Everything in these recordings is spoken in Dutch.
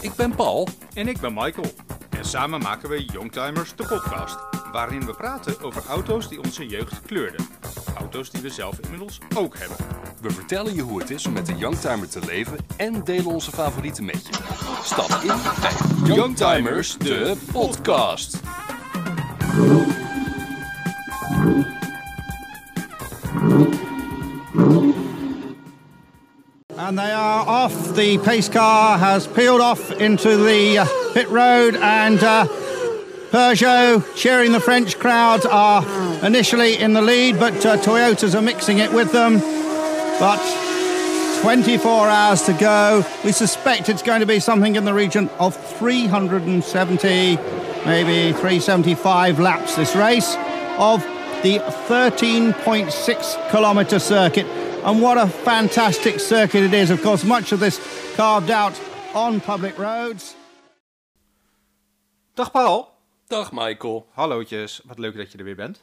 Ik ben Paul. En ik ben Michael. En samen maken we Youngtimers, de podcast. Waarin we praten over auto's die onze jeugd kleurden. Auto's die we zelf inmiddels ook hebben. We vertellen je hoe het is om met een Youngtimer te leven en delen onze favorieten met je. Stap in bij Youngtimers, de podcast. And they are off. The pace car has peeled off into the uh, pit road, and uh, Peugeot, cheering the French crowd, are initially in the lead, but uh, Toyotas are mixing it with them. But 24 hours to go. We suspect it's going to be something in the region of 370, maybe 375 laps this race of the 13.6 kilometre circuit. And what a fantastic circuit it is. Of course, much of this carved out on public roads. Dag Paul. Dag Michael. Hallootjes, wat leuk dat je er weer bent.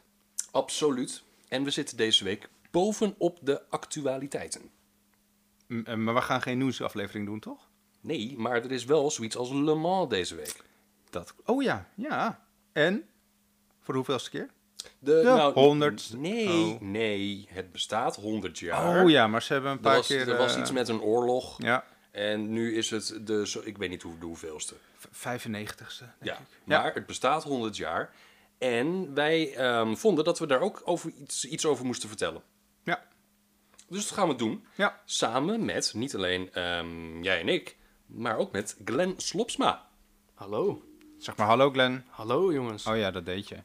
Absoluut. En we zitten deze week bovenop de actualiteiten. M- eh, maar we gaan geen nieuwsaflevering doen, toch? Nee, maar er is wel zoiets als Le Mans deze week. Dat. Oh ja, ja. En? Voor de hoeveelste keer? De, nou, 100ste. Nee, Oh. nee, het bestaat 100 jaar. Oh ja, maar ze hebben een paar Er was, keer... er was eh, iets met een oorlog. Ja, En nu is het de, zo- ik weet niet hoe, de hoeveelste. v- 95ste. denk Ja, ik. maar het bestaat 100 jaar. En wij ehm, vonden dat we daar ook over iets, iets over moesten vertellen. Ja, Dus dat gaan we doen. ja. Samen met niet alleen ehm, jij en ik, maar ook met Glenn Slopsma. Hallo. Zeg maar hallo Glenn. Hallo jongens. Oh ja, dat deed je.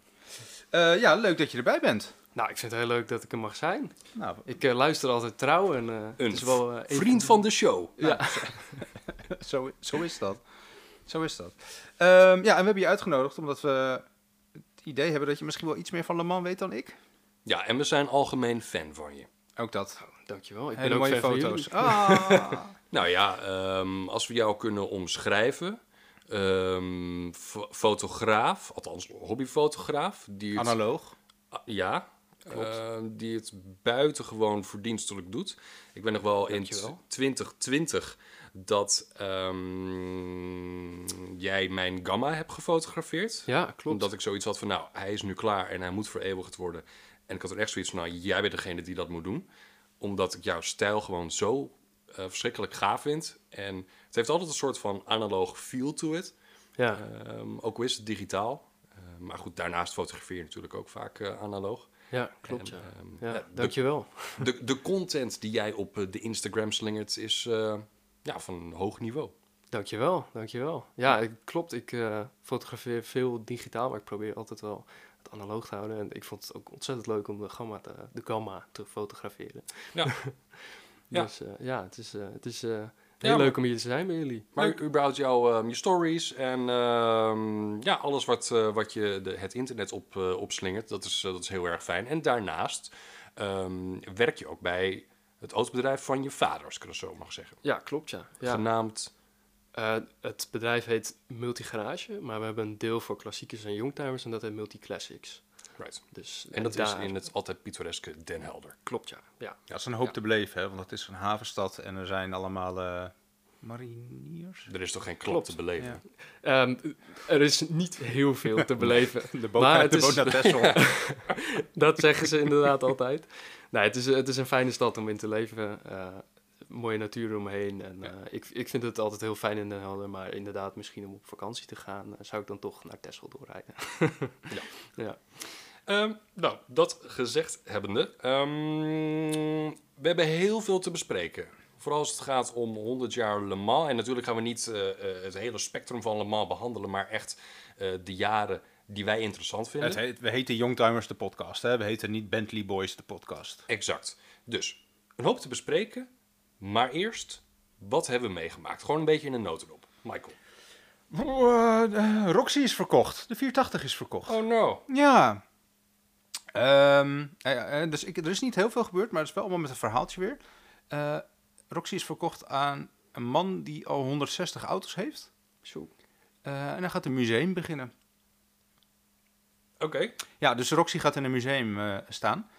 Eh, ja, leuk dat je erbij bent. Nou, ik vind het heel leuk dat ik er mag zijn. Nou, Ik eh, luister altijd trouw en eh, het Een is wel eh, even- vriend van de show. Ja. Zo, zo is dat. Zo is dat. Ehm, ja, en we hebben je uitgenodigd omdat we het idee hebben dat je misschien wel iets meer van Le Mans weet dan ik. Ja, en we zijn algemeen fan van je. Ook dat. Dankjewel. Ik Hele ben ook mooie fan van foto's. jullie. Oh. Ah. Nou ja, ehm, als we jou kunnen omschrijven. ehm, fo- fotograaf, althans hobbyfotograaf. Die het- Analoog. Ah, Ja, eh, die het buitengewoon verdienstelijk doet. Ik ben nog wel in Dankjewel. 2020 dat ehm, jij mijn gamma hebt gefotografeerd. Ja, klopt. Omdat ik zoiets had van, nou, hij is nu klaar en hij moet vereeuwigd worden. En ik had er echt zoiets van, nou, jij bent degene die dat moet doen. Omdat ik jouw stijl gewoon zo eh, verschrikkelijk gaaf vind. En het heeft altijd een soort van analoog feel to it. Ja. Ehm, ook al is het digitaal. Eh, maar goed, daarnaast fotografeer je natuurlijk ook vaak eh, analoog. ja, klopt. en, ja. ehm, ja, ja, de- dankjewel. De, de content die jij op eh, de Instagram slingert is eh, ja, van hoog niveau. Dankjewel. Dankjewel. Ja, ik- klopt. Ik eh, fotografeer veel digitaal, maar ik probeer altijd wel het analoog te houden. En ik vond het ook ontzettend leuk om de gamma te, de gamma te fotograferen. Ja. Ja. Dus eh, ja, het is, eh, het is eh, heel Ja, maar- leuk om hier te zijn met jullie. Maar überhaupt jouw ehm, je stories en ehm, ja, alles wat, eh, wat je de, het internet op, eh, opslingert, dat is, eh, dat is heel erg fijn. En daarnaast ehm, werk je ook bij het autobedrijf van je vader, als ik het zo mag zeggen. Ja, klopt ja. ja. Genaamd, Eh, het bedrijf heet Multigarage, maar we hebben een deel voor klassiekers en youngtimers en dat heet Multiclassics. right. Dus En dat daar- is in het altijd pittoreske Den Helder. Klopt, ja. ja. Ja, dat is een hoop te beleven, hè, want het is een havenstad en er zijn allemaal eh, mariniers. Er is toch geen klap Klopt. te beleven? Ja. Ehm, er is niet heel veel te beleven. De boot, Maar naar, het de is- boot naar Texel. dat zeggen ze inderdaad altijd. Nee, het is, het is een fijne stad om in te leven. eh, mooie natuur omheen. En, eh, ik, ik vind het altijd heel fijn in Den Helder, maar inderdaad, misschien om op vakantie te gaan, eh, zou ik dan toch naar Texel doorrijden. Ja. ja. Ehm, nou, dat gezegd hebbende, ehm, we hebben heel veel te bespreken. Vooral als het gaat om 100 jaar Le Mans. En natuurlijk gaan we niet eh, eh, het hele spectrum van Le Mans behandelen, maar echt eh, de jaren die wij interessant vinden. Het heet, we heten Youngtimers de podcast, hè. We heten niet Bentley Boys de podcast. Exact. Dus een hoop te bespreken, maar eerst, wat hebben we meegemaakt? Gewoon een beetje in een notendop. Michael. Wow, eh, Roxy is verkocht. De 480 is verkocht. Oh no. Ja. Ehm, eh, ja, eh, dus ik, er is niet heel veel gebeurd, maar het is wel allemaal met een verhaaltje weer. Eh, Roxy is verkocht aan een man die al 160 auto's heeft. Zo. Eh, en hij gaat een museum beginnen. Oké. Ja, dus Roxy gaat in een museum eh, staan.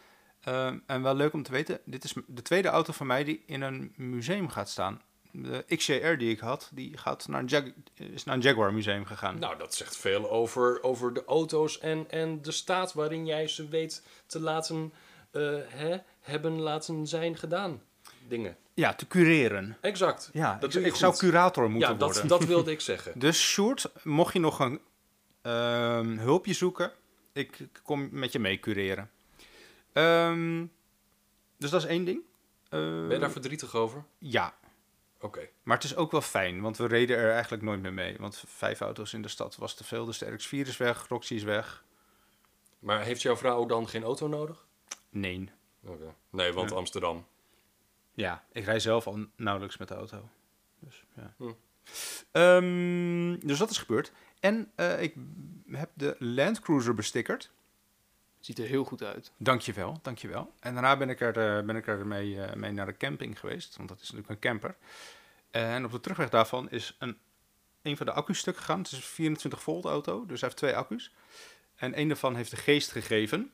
Ehm, en wel leuk om te weten, dit is m- de tweede auto van mij die in een museum gaat staan. de XJR die ik had, die gaat naar een Jag- is naar een Jaguar museum gegaan. Nou, dat zegt veel over, over de auto's en, en de staat waarin jij ze weet te laten eh, hè, hebben, laten zijn gedaan. Dingen. Ja, te cureren. Exact. Ja, dat ik, doe je ik zou goed. curator moeten Ja, dat, worden. dat wilde ik zeggen. Dus Sjoerd, mocht je nog een ehm, hulpje zoeken, ik kom met je mee cureren. Ehm, dus dat is één ding. Eh, Ben je daar verdrietig over? Ja, Oké. maar het is ook wel fijn, want we reden er eigenlijk nooit meer mee. Want vijf auto's in de stad was te veel, dus de RX-4 is weg, Roxy is weg. Maar heeft jouw vrouw dan geen auto nodig? Nee. Oké. Nee, want Ja. Amsterdam. Ja, ik rij zelf al nauwelijks met de auto. Dus, ja. Hm. Ehm, dus dat is gebeurd. En eh, ik heb de Land Cruiser bestickerd. Ziet er heel goed uit. Dankjewel, dankjewel. En daarna ben ik er, eh, ben ik er mee, eh, mee naar de camping geweest, want dat is natuurlijk een camper. En op de terugweg daarvan is een, een van de accu's stuk gegaan. Het is een 24 volt auto, dus hij heeft twee accu's. En een daarvan heeft de geest gegeven.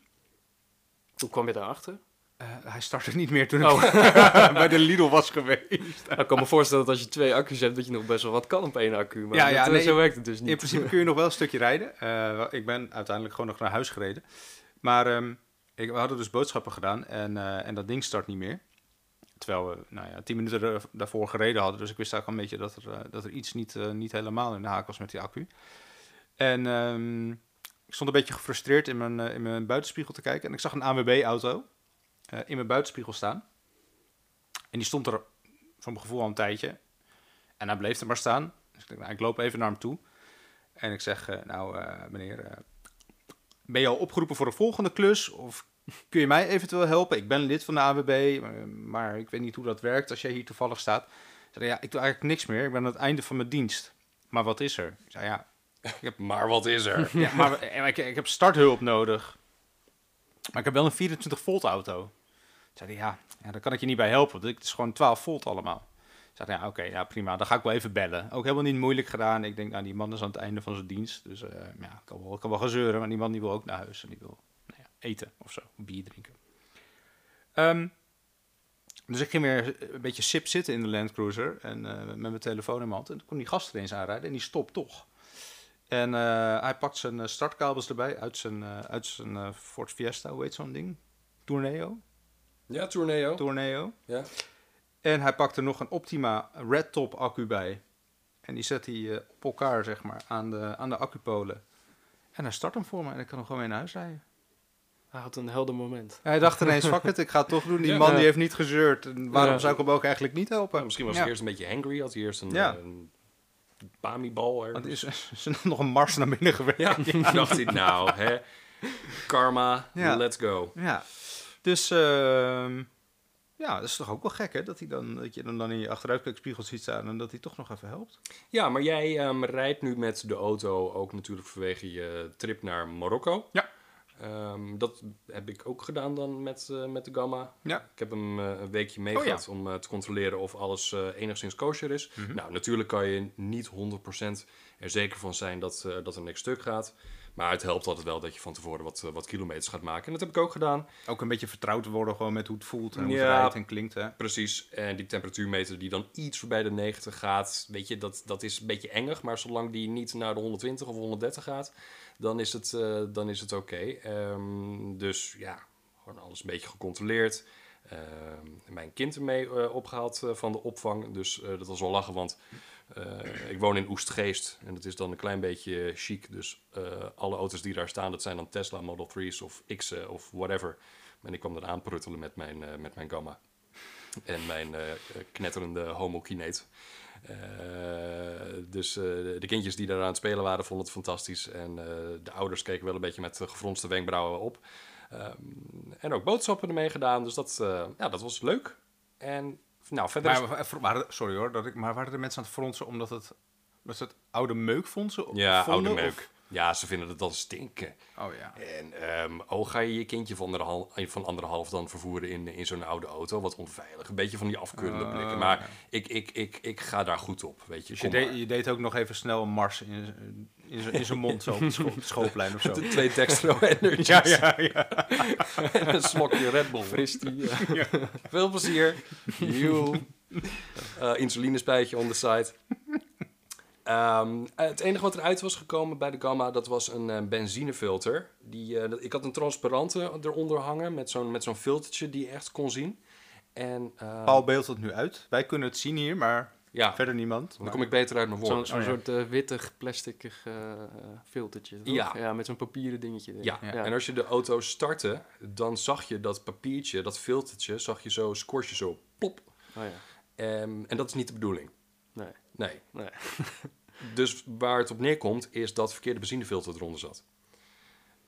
Hoe kwam je daarachter? Eh, hij startte niet meer toen ik bij de Lidl was geweest. Nou, ik kan me voorstellen dat als je twee accu's hebt, dat je nog best wel wat kan op één accu. Maar Ja, ja, dat- nee, zo werkt het dus In niet. principe kun je nog wel een stukje rijden. Eh, ik ben uiteindelijk gewoon nog naar huis gereden. Maar ehm, ik, we hadden dus boodschappen gedaan en, eh, en dat ding start niet meer. Terwijl we nou ja, tien minuten er- daarvoor gereden hadden. Dus ik wist eigenlijk al een beetje dat er, eh, dat er iets niet, eh, niet helemaal in de haak was met die accu. En ehm, ik stond een beetje gefrustreerd in mijn, eh, in mijn buitenspiegel te kijken. En ik zag een ANWB-auto eh, in mijn buitenspiegel staan. En die stond er van mijn gevoel al een tijdje. En hij bleef er maar staan. Dus ik, dacht, nou, ik loop even naar hem toe. En ik zeg, eh, nou eh, meneer, eh, ben je al opgeroepen voor de volgende klus? Of kun je mij eventueel helpen? Ik ben lid van de AWB, eh, maar ik weet niet hoe dat werkt als jij hier toevallig staat. Ik zei, ja, ik doe eigenlijk niks meer. Ik ben aan het einde van mijn dienst. Maar wat is er? Ik zei, ja, Maar wat is er? ja, maar we- en ik, ik heb starthulp nodig. Maar ik heb wel een 24 volt auto. Zei hij, ja, ja, daar kan ik je niet bij helpen. want Het is gewoon 12 volt allemaal. Zei hij, ja, oké, ja, prima. Dan ga ik wel even bellen. Ook helemaal niet moeilijk gedaan. Ik denk, nou, die man is aan het einde van zijn dienst. Dus eh, ja, kan wel, kan wel gaan zeuren. Maar die man die wil ook naar huis. En die wil nou ja, eten of zo. Bier drinken. Ehm, dus ik ging weer een beetje sip zitten in de Land Cruiser. En eh, met mijn telefoon in mijn hand. En toen kon die gast ineens aanrijden. En die stopt toch. En eh, hij pakt zijn eh, startkabels erbij uit zijn, eh, uit zijn eh, Ford Fiesta, hoe heet zo'n ding? Tourneo? Ja, Tourneo. Tourneo. Ja. En hij pakt er nog een Optima Red Top accu bij. En die zet hij eh, op elkaar, zeg maar, aan de, aan de accupolen. En hij start hem voor me en ik kan hem gewoon weer naar huis rijden. Hij had een helder moment. Hij dacht ineens, fuck it, ik ga het toch doen. Die Ja. man Ja. die heeft niet gezeurd. En waarom Ja. zou ik hem ook eigenlijk niet helpen? Nou, misschien was Ja. hij eerst een beetje hangry. Had hij eerst een, Ja. eh, een Bami-bal Want ergens. er is, is er nog een mars naar binnen geweest. Ja, dacht hij, nou, hè. Karma, Ja. let's go. Ja. Dus ehm, ja, dat is toch ook wel gek, hè? Dat, hij dan, dat je hem dan in je achteruitkijkspiegel ziet staan en dat hij toch nog even helpt. Ja, maar jij ehm, rijdt nu met de auto ook natuurlijk vanwege je trip naar Marokko. Ja. Ehm, dat heb ik ook gedaan dan met, eh, met de Gamma. Ja. Ik heb hem eh, een weekje mee Oh, ja. gehad om eh, te controleren of alles eh, enigszins kosher is. Mhm. Nou, natuurlijk kan je niet 100% er zeker van zijn dat, eh, dat er niks stuk gaat. Maar het helpt altijd wel dat je van tevoren wat, eh, wat kilometers gaat maken. En dat heb ik ook gedaan. Ook een beetje vertrouwd worden gewoon met hoe het voelt en hoe het Ja. rijdt en klinkt, hè? Precies, en die temperatuurmeter die dan iets voorbij de 90 gaat, weet je, dat, dat is een beetje engig. Maar zolang die niet naar de 120 of 130 gaat, dan is het, eh, dan is het oké. Ehm, dus ja, gewoon alles een beetje gecontroleerd. Ehm, mijn kind ermee eh, opgehaald eh, van de opvang, dus eh, dat was wel lachen, want eh, ik woon in Oestgeest en dat is dan een klein beetje chic. Dus eh, alle auto's die daar staan, dat zijn dan Tesla Model 3's of X'en of whatever. En ik kwam eraan pruttelen met mijn, eh, met mijn gamma. En mijn eh, knetterende homokineet. Eh, dus eh, de kindjes die daar aan het spelen waren, vonden het fantastisch. En eh, de ouders keken wel een beetje met eh, gefronste wenkbrauwen op. Ehm, en ook boodschappen ermee gedaan. Dus dat, eh, ja, dat was leuk. En nou, verder is- Maar, maar- maar- sorry hoor, dat ik, maar waren er mensen aan het fronsen omdat het, omdat ze het oude meuk fronsen? of- Ja, vonden, oude of- meuk. Ja, ze vinden het dan stinken. Oh ja. En ehm oh, ga je je kindje van anderhalf, van anderhalf dan vervoeren in, in zo'n oude auto? Wat onveilig. Een beetje van die afkeurende blikken. Maar ik, ik, ik, ik ga daar goed op. Weet je, Ah, Dus je Kom deed, maar. je deed ook nog even snel een mars in, eh, in, zijn- in zijn mond, zo op het scho- op het schoolplein of zo. De twee Dextro Energies Ja, ja, ja. en een slokje Red Bull. Fris die, eh, Veel plezier. Joe. Eh, insulinespijtje on the side. Ehm, eh, het enige wat eruit was gekomen bij de Gamma, dat was een eh, benzinefilter. Die, eh, dat- ik had een transparante eronder hangen met zo'n, met zo'n filtertje die je echt kon zien. En eh, Paul beeldt het nu uit. Wij kunnen het zien hier, maar ja, verder niemand. dan kom ik beter uit mijn woorden. Zo'n zo'n Oh, ja. soort eh, wittig, plastic eh, eh, filtertje. toch? Ja. met zo'n papieren dingetje. erin. Ja. en als je de auto startte, dan zag je dat papiertje, dat filtertje, zag je zo, scoort je zo, plop. Oh, ja. Ehm, en dat is niet de bedoeling. Nee. Nee. nee. Dus waar het op neerkomt, is dat verkeerde benzinefilter eronder zat.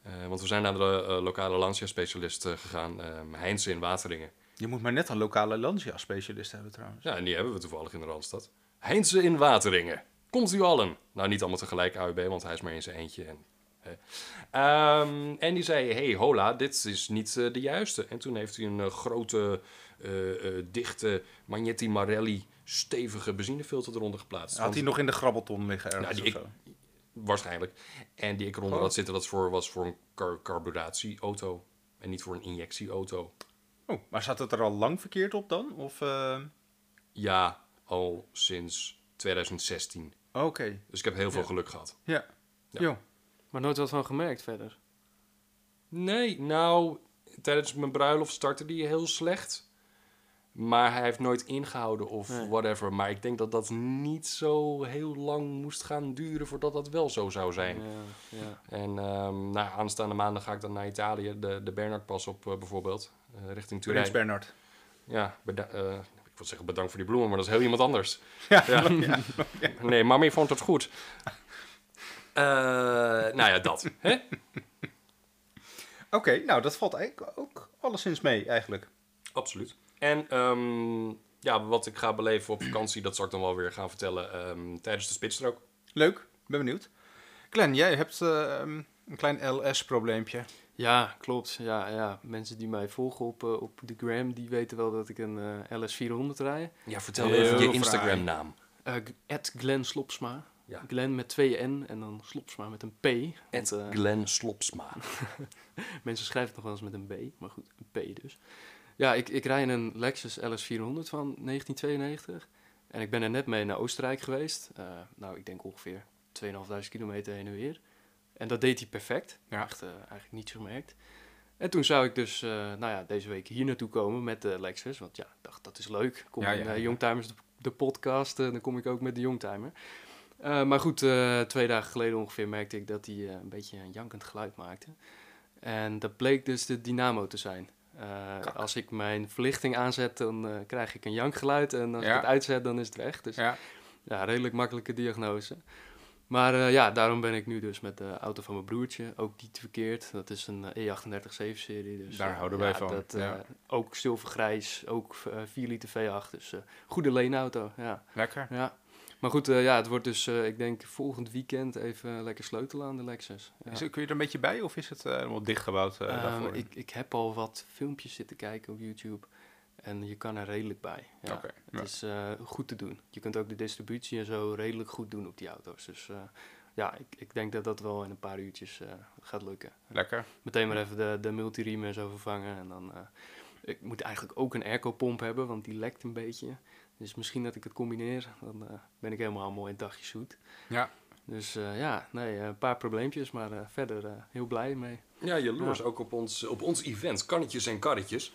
Eh, want we zijn naar de eh, lokale Lancia-specialist eh, gegaan, ehm Heinz in Wateringen. Je moet maar net een lokale Lancia-specialist hebben trouwens. Ja, en die hebben we toevallig in de Randstad. Heinze in Wateringen. Komt u allen. Nou, niet allemaal tegelijk AUB, want hij is maar in zijn eentje. En, hè. Ehm, en die zei, hey, hola, dit is niet eh, de juiste. En toen heeft hij een eh, grote, eh, eh, dichte Magnetti Marelli stevige benzinefilter eronder geplaatst. Had hij nog in de grabbelton liggen ergens Nou, die of ik- zo? Waarschijnlijk. En die ik eronder Oh. had zitten, dat voor, was voor een car- carburatieauto. En niet voor een injectieauto. Oh, maar zat het er al lang verkeerd op dan? Of, eh, Ja, al sinds 2016. Oh, Oké, Dus ik heb heel veel geluk gehad. ja. Ja. Jo. Maar nooit wat van gemerkt verder. Nee, nou, tijdens mijn bruiloft startte die heel slecht. Maar hij heeft nooit ingehouden of Nee. whatever. Maar ik denk dat dat niet zo heel lang moest gaan duren voordat dat wel zo zou zijn. Ja, ja. En ehm nou, aanstaande maandag ga ik dan naar Italië, de, de Bernardpas op eh, bijvoorbeeld, eh, richting Prins Turijn. Bernard. ja, beda- eh, ik wil zeggen bedankt voor die bloemen, maar dat is heel iemand anders. Ja, Ja. Nee, mami vond het goed. Eh, nou ja, dat. Hè? Oké, nou dat valt eigenlijk ook alleszins mee eigenlijk. Absoluut. En ehm, ja, wat ik ga beleven op vakantie, dat zal ik dan wel weer gaan vertellen ehm, tijdens de spitsstrook. Leuk, ben benieuwd. Glenn, jij hebt eh, een klein LS-probleempje. ja, klopt. Ja, ja. Mensen die mij volgen op, eh, op de gram, die weten wel dat ik een eh, LS400 rij. Eh, Ja, vertel Heel even je fraai. Instagram-naam. At Glenn Slopsma. Ja. Glenn met twee N en dan Slopsma met een P. Want, eh, Glenn Slopsma. Mensen schrijven het nog wel eens met een B, maar goed, een P dus. Ja, ik, ik rij in een Lexus LS400 van 1992. En ik ben er net mee naar Oostenrijk geweest. Eh, nou, ik denk ongeveer 2.500 kilometer heen en weer. En dat deed hij perfect. Ja. Echt eh, eigenlijk niets gemerkt. En toen zou ik dus, eh, nou ja, deze week hier naartoe komen met de Lexus. Want ja, ik dacht, dat is leuk. Kom Ja, in ja, eh, ja. Youngtimers, de, de podcast, eh, dan kom ik ook met de Youngtimer. Eh, maar goed, eh, twee dagen geleden ongeveer merkte ik dat hij eh, een beetje een jankend geluid maakte. En dat bleek dus de dynamo te zijn. Eh, Kak. als ik mijn verlichting aanzet, dan eh, krijg ik een jankgeluid. En als Ja. ik het uitzet, dan is het weg. Dus Ja. ja, redelijk makkelijke diagnose. Maar eh, ja, daarom ben ik nu dus met de auto van mijn broertje. Ook niet verkeerd. Dat is een eh, E387-serie. Dus, Daar eh, houden wij ja, van, Dat, eh, ja. Ook zilvergrijs, ook eh, 4 liter V8. Dus eh, goede leenauto, ja. Lekker. ja. Maar goed, eh, ja, het wordt dus, eh, ik denk, volgend weekend even lekker sleutelen aan de Lexus. Ja. Is- kun je er een beetje bij of is het eh, helemaal dichtgebouwd eh, Ehm, daarvoor? ik, ik heb al wat filmpjes zitten kijken op YouTube. En je kan er redelijk bij. Ja. Oké, Het ja. is eh, goed te doen. Je kunt ook de distributie en zo redelijk goed doen op die auto's. Dus eh, ja, ik, ik denk dat dat wel in een paar uurtjes eh, gaat lukken. Lekker. Meteen maar even de, de multiriem en zo vervangen. En dan, eh, ik moet eigenlijk ook een airco-pomp hebben, want die lekt een beetje. Dus misschien dat ik het combineer. Dan eh, ben ik helemaal mooi een dagje zoet. Ja. Dus eh, ja, nee, een paar probleempjes, maar eh, verder eh, heel blij mee. Ja, jaloers ook op ons, op ons event, Kannetjes en Karretjes.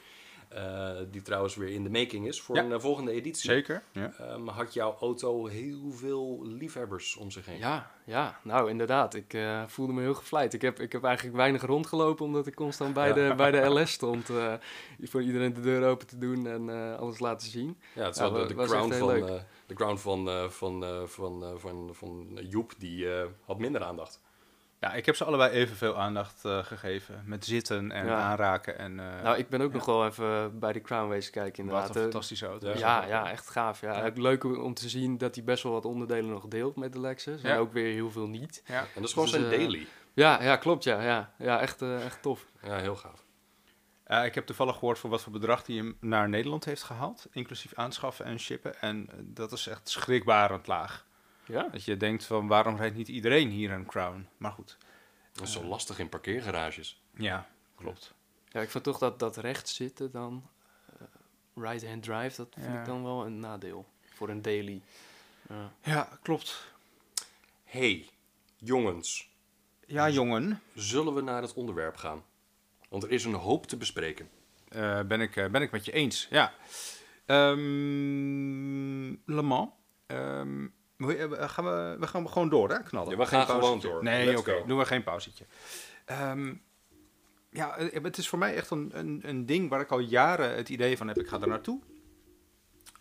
Eh, die trouwens weer in de making is voor Ja. een eh, volgende editie. Zeker. Ja. Ehm, had jouw auto heel veel liefhebbers om zich heen? Ja, ja, nou inderdaad. Ik eh, voelde me heel gevleid. Ik heb, ik heb eigenlijk weinig rondgelopen omdat ik constant bij, de, bij de LS stond. eh, voor iedereen de deur open te doen en eh, alles laten zien. Ja, het is Ja, wel wa- de, de, was echt crown heel van, leuk. eh, de crown van, eh, van, eh, van, eh, van, van Joep, die eh, had minder aandacht. ja, ik heb ze allebei evenveel aandacht eh, gegeven. Met zitten en Ja. aanraken. En, eh, nou, ik ben ook nog wel even bij de Crown wezen kijken wat inderdaad. een Eh, fantastische auto. Ja. ja, ja, echt gaaf. Ja. Ja. Ook Leuk om te zien dat hij best wel wat onderdelen nog deelt met de Lexus. Ja. En ook weer heel veel niet. Ja. En dat is gewoon Dus, zijn eh, daily. Ja, ja klopt. Ja, ja. ja echt, eh, echt tof. Ja, heel gaaf. Ja, Eh, ik heb toevallig gehoord voor wat voor bedrag hij hem naar Nederland heeft gehaald. Inclusief aanschaffen en shippen. En eh, dat is echt schrikbarend laag. Ja. Dat je denkt van waarom rijdt niet iedereen hier een Crown? Maar goed. Dat is zo lastig in parkeergarages. Ja, klopt. Ja, ik vind toch dat dat rechts zitten dan, eh, right-hand drive, dat vind Ja. ik dan wel een nadeel. voor een daily. Ja, klopt. hey, jongens, Ja, jongen. zullen we naar het onderwerp gaan? Want er is een hoop te bespreken. Eh, ben, ik, eh, ben ik met je eens, ja. Ehm Le Mans. Ehm, wil je- eh, gaan we, we gaan gewoon door, hè? Knallen. Ja, we gaan Geen gewoon pauzetje. door. Nee, Let's oké. go. Doen we geen pauzetje. Ehm, ja, eh, het is voor mij echt een, een, een ding waar ik al jaren het idee van heb. Ik ga er naartoe.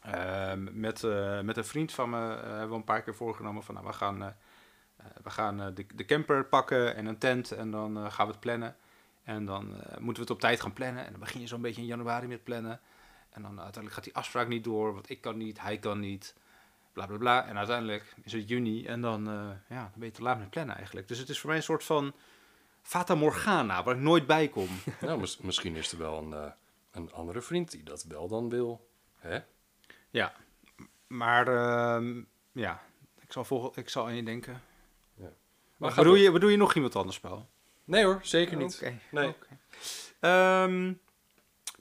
Ehm, met, eh, met een vriend van me eh, hebben we een paar keer voorgenomen van... Nou, we gaan, eh, eh, we gaan eh, de, de camper pakken en een tent en dan eh, gaan we het plannen. En dan eh, moeten we het op tijd gaan plannen. En dan begin je zo'n beetje in januari met plannen. En dan uiteindelijk gaat die afspraak niet door, want ik kan niet, hij kan niet. Bla bla bla. En uiteindelijk is het juni en dan, eh, ja, dan ben je te laat met plannen eigenlijk. Dus het is voor mij een soort van Fata Morgana, waar ik nooit bij kom. nou, mis- misschien is er wel een, eh, een andere vriend die dat wel dan wil. Hè? ja. Maar ehm, ja, ik zal, volgen, ik zal aan je denken. Maar Maar ga bedoel, door. je, bedoel je nog iemand anders, Paul? Nee hoor, zeker niet. Nee. oké. Ehm,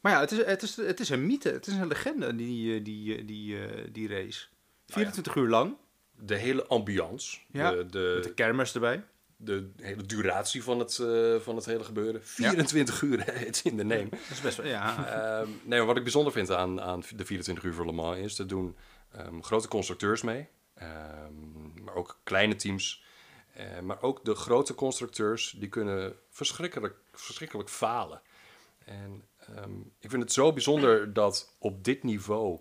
maar ja, het is, het, is, het is een mythe. Het is een legende, die, eh, die, eh, die, eh, die race. 24 uur lang. De hele ambiance, Ja, de, Met de de, kermis erbij. de hele duratie van het, eh, van het hele gebeuren. 24 uur, het in de neem. Dat is best wel, ja. eh, Ehm, nee, maar wat ik bijzonder vind aan, aan de 24 uur voor Le Mans is, er doen ehm, grote constructeurs mee, ehm, maar ook kleine teams. Eh, maar ook de grote constructeurs, die kunnen verschrikkelijk, verschrikkelijk falen. En ehm, ik vind het zo bijzonder dat op dit niveau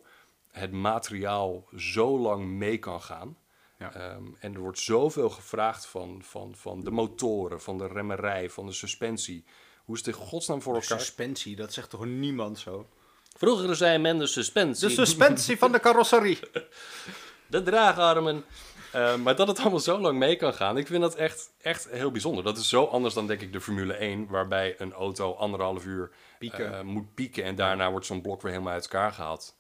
het materiaal zo lang mee kan gaan. Ja. Ehm, en er wordt zoveel gevraagd van, van, van de motoren, van de remmerij, van de suspensie. Hoe is het in godsnaam voor elkaar? Suspensie, dat zegt toch niemand zo? Vroeger zei men de suspensie, De suspensie van de carrosserie. de draagarmen. Eh, maar dat het allemaal zo lang mee kan gaan, ik vind dat echt, echt heel bijzonder. Dat is zo anders dan denk ik de Formule 1, waarbij een auto anderhalf uur Pieken. eh, moet pieken en daarna wordt zo'n blok weer helemaal uit elkaar gehaald.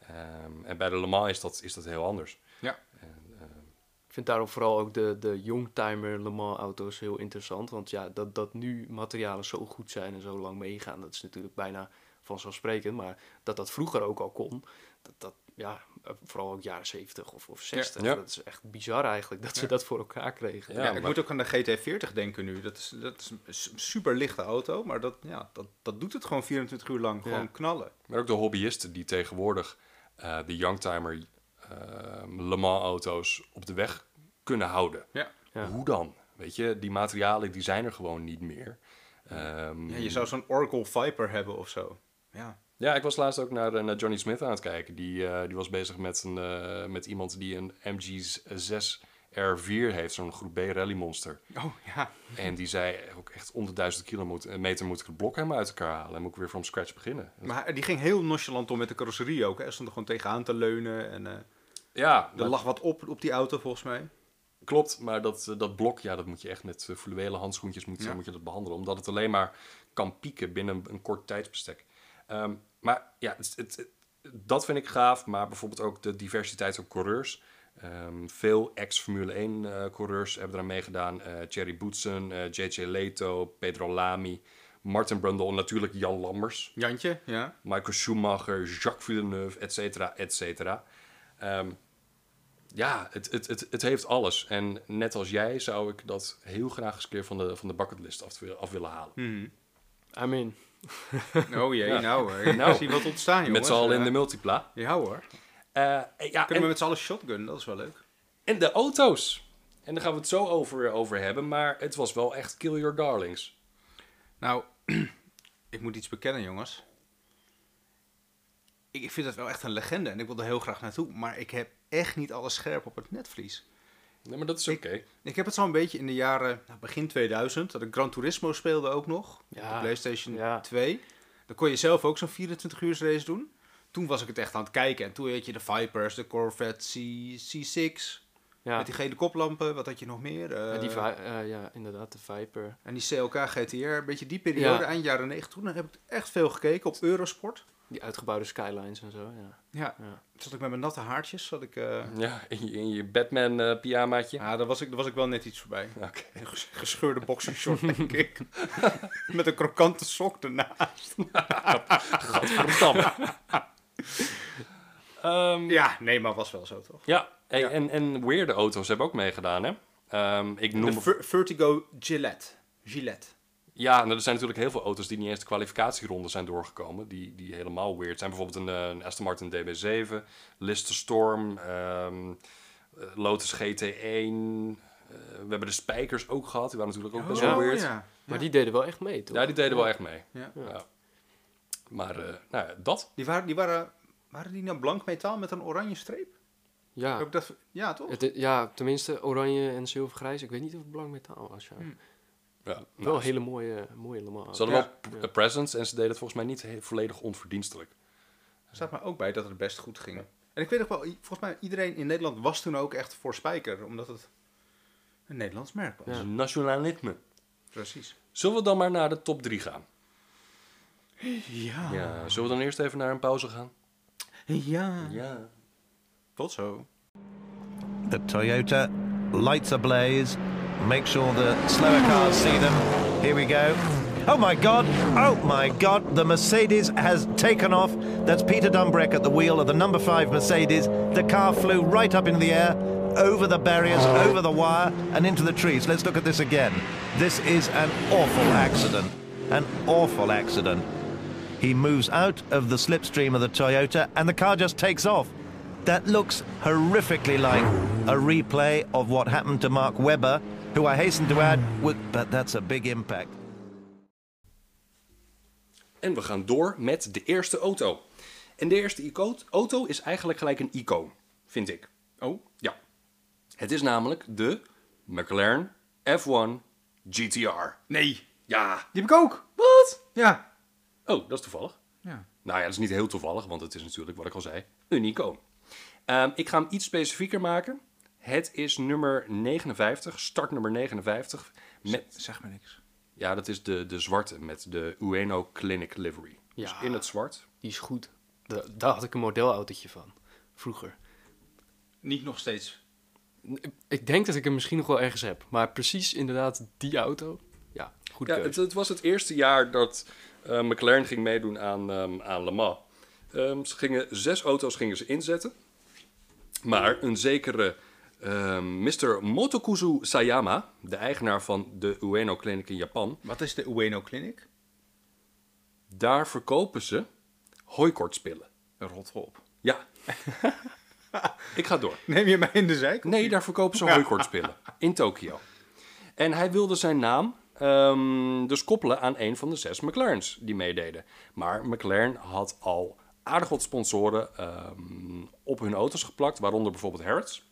Ehm, en bij de Le Mans is dat, is dat heel anders. Ja. Ik vind daarom vooral ook de, de youngtimer Le Mans auto's heel interessant. Want ja, dat, dat nu materialen zo goed zijn en zo lang meegaan, dat is natuurlijk bijna vanzelfsprekend. Maar dat dat vroeger ook al kon, dat, dat ja, eh, vooral ook jaren 70 of, of 60. Ja. Dat is echt bizar eigenlijk dat ze dat voor elkaar kregen. Ja, Ja, ik maar- moet ook aan de GT40 denken nu. Dat is, dat is een su- superlichte auto, maar dat, ja, dat, dat doet het gewoon 24 uur lang. Gewoon Ja. knallen. Maar ook de hobbyisten die tegenwoordig eh, de Youngtimer eh, Le Mans auto's op de weg kunnen houden. Ja. Ja. Hoe dan? Weet je, die materialen die zijn er gewoon niet meer. Ehm, ja je zou zo'n Oracle Viper hebben of zo. Ja. Ja, ik was laatst ook naar, eh, naar Johnny Smith aan het kijken. Die, eh, die was bezig met, een, eh, met iemand die een MG6R4 heeft, zo'n groep B rally monster. Oh, ja. En die zei ook echt onder duizend kilometer moet ik het blok helemaal uit elkaar halen en moet ik weer from scratch beginnen. Maar die ging heel nonchalant om met de carrosserie ook. Hè. Hij stond er gewoon tegenaan te leunen. En, eh, Ja, er dat lag wat op op die auto volgens mij. klopt, maar dat, eh, dat blok, ja, dat moet je echt met eh, fluwelen handschoentjes moet, Ja. moet je dat behandelen, omdat het alleen maar kan pieken binnen een, een kort tijdsbestek. Ehm, maar ja, het, het- het- dat vind ik gaaf, maar bijvoorbeeld ook de diversiteit van coureurs. Ehm, veel ex-Formule 1-coureurs hebben eraan meegedaan. Eh Thierry Boetsen, eh, JJ Leto, Pedro Lamy, Martin Brundle, natuurlijk Jan Lammers, Jantje, ja. Michael Schumacher, Jacques Villeneuve, et cetera, et cetera. Ehm, ja, het, het, het, het heeft alles. En net als jij zou ik dat heel graag eens een keer van de, van de bucketlist af, te- af willen halen. Hmm. I mean, Oh jee, Ja. nou, eh, ik Nou. zie wat ontstaan, jongens. met z'n allen in de Eh, multipla. Ja hoor. Eh, ja, Kunnen we en, met z'n allen shotgun, dat is wel leuk. en de auto's. En daar gaan we het zo over, over hebben. Maar het was wel echt kill your darlings. Nou, ik moet iets bekennen, jongens. Ik ik vind dat wel echt een legende en ik wil er heel graag naartoe. Maar ik heb echt niet alles scherp op het netvlies. Nee, maar dat is oké. Ik heb het zo'n beetje in de jaren, nou, begin 2000, dat ik Gran Turismo speelde ook nog. Ja, op de PlayStation ja. 2. Dan kon je zelf ook zo'n 24 uur race doen. Toen was ik het echt aan het kijken. En toen had je de Vipers, de Corvette C- C6. ja, Met die gele koplampen, wat had je nog meer? Eh, En die vi- eh, ja inderdaad, de Viper. en die CLK GTR, een beetje die periode, Ja. eind jaren 90. Toen heb ik echt veel gekeken op Eurosport. Die uitgebouwde skylines en zo, ja. Ja, ja. toen zat ik met mijn natte haartjes. Zat ik, eh, Ja, in je, in je Batman eh pyjamaatje. ja, daar was, ik, daar was ik wel net iets voorbij. Oké. Een ges- gescheurde boxershort, denk ik. met een krokante sok ernaast. Gadverdamme. Ehm, Ja, nee, maar was wel zo toch? ja, hey, En, en weirde auto's hebben ook meegedaan, hè? Ehm, ik noem De Ver- Vertigo Gillette. Gillette. Ja, en er zijn natuurlijk heel veel auto's die niet eens de kwalificatieronde zijn doorgekomen. Die, die helemaal weird zijn. Bijvoorbeeld een, eh, een Aston Martin DB7, Lister Storm, ehm, eh, Lotus GT1. eh, we hebben de Spijkers ook gehad. Die waren natuurlijk ook best wel ja. weird. Ja. Oh, Ja. Maar die deden wel echt mee, toch? die deden wel echt mee. Ja. Ja. Maar eh, nou ja, dat. Die, waren, die waren, waren die nou blank metaal met een oranje streep? Ja. Ook dat, ja, toch? Het, ja, tenminste oranje en zilvergrijs. Ik weet niet of het blank metaal was, ja. Hmm. Ja, Wel nou, een hele mooie, mooie Le Mans. Ze hadden Ja. wel p- eh, presents en ze deden het volgens mij niet he- volledig onverdienstelijk. Er staat maar ook bij dat het best goed ging. En ik weet nog wel, i- volgens mij iedereen in Nederland was toen ook echt voor Spijker. Omdat het een Nederlands merk was. Dat is Nationalisme. Precies. Zullen we dan maar naar de top 3 gaan? Ja. Ja, zullen we dan eerst even naar een pauze gaan? Ja. Ja. Tot zo. the Toyota lights ablaze. Make sure the slower cars see them. Here we go. Oh my God! Oh my God! The Mercedes has taken off. That's Peter Dumbreck at the wheel of the number five Mercedes. The car flew right up into the air, over the barriers, over the wire, and into the trees. Let's look at this again. This is an awful accident. An awful accident. He moves out of the slipstream of the Toyota and the car just takes off. That looks horrifically like a replay of what happened to Mark Webber, who I hasten to add, was, but that's a big impact. En we gaan door met de eerste auto. En de eerste ico- auto is eigenlijk gelijk een icoon, vind ik. Oh. Ja. Het is namelijk de McLaren F1 GTR. Nee. Ja. Die heb ik ook. Wat? Ja. Oh, dat is toevallig. Ja. Nou ja, dat is niet heel toevallig, want het is natuurlijk, wat ik al zei, een icoon. Ehm, ik ga hem iets specifieker maken. Het is nummer 59, startnummer 59. Met, Zeg maar niks. ja, dat is de, de zwarte met de Ueno Clinic livery. Dus Ja. in het zwart. Die is goed. Da- daar had ik een modelautootje van. Vroeger. Niet nog steeds. Ik- Ik denk dat ik hem misschien nog wel ergens heb. Maar precies inderdaad die auto. Ja, goed Ja, het, het was het eerste jaar dat eh, McLaren ging meedoen aan, ehm, aan Le Mans. Ehm, ze gingen, zes auto's gingen ze inzetten. Maar een zekere ehm Mr. Motokuzu Sayama, de eigenaar van de Ueno Clinic in Japan, Wat is de Ueno Clinic? daar verkopen ze hooikortspillen. Een rot op. Ja. Ik ga door. Neem je mij in de zijk? Nee, daar verkopen ze hooikortspillen. In Tokio. En hij wilde zijn naam ehm, dus koppelen aan een van de zes McLaren's die meededen. Maar McLaren had al aardig wat sponsoren ehm, op hun auto's geplakt, waaronder bijvoorbeeld Harrods.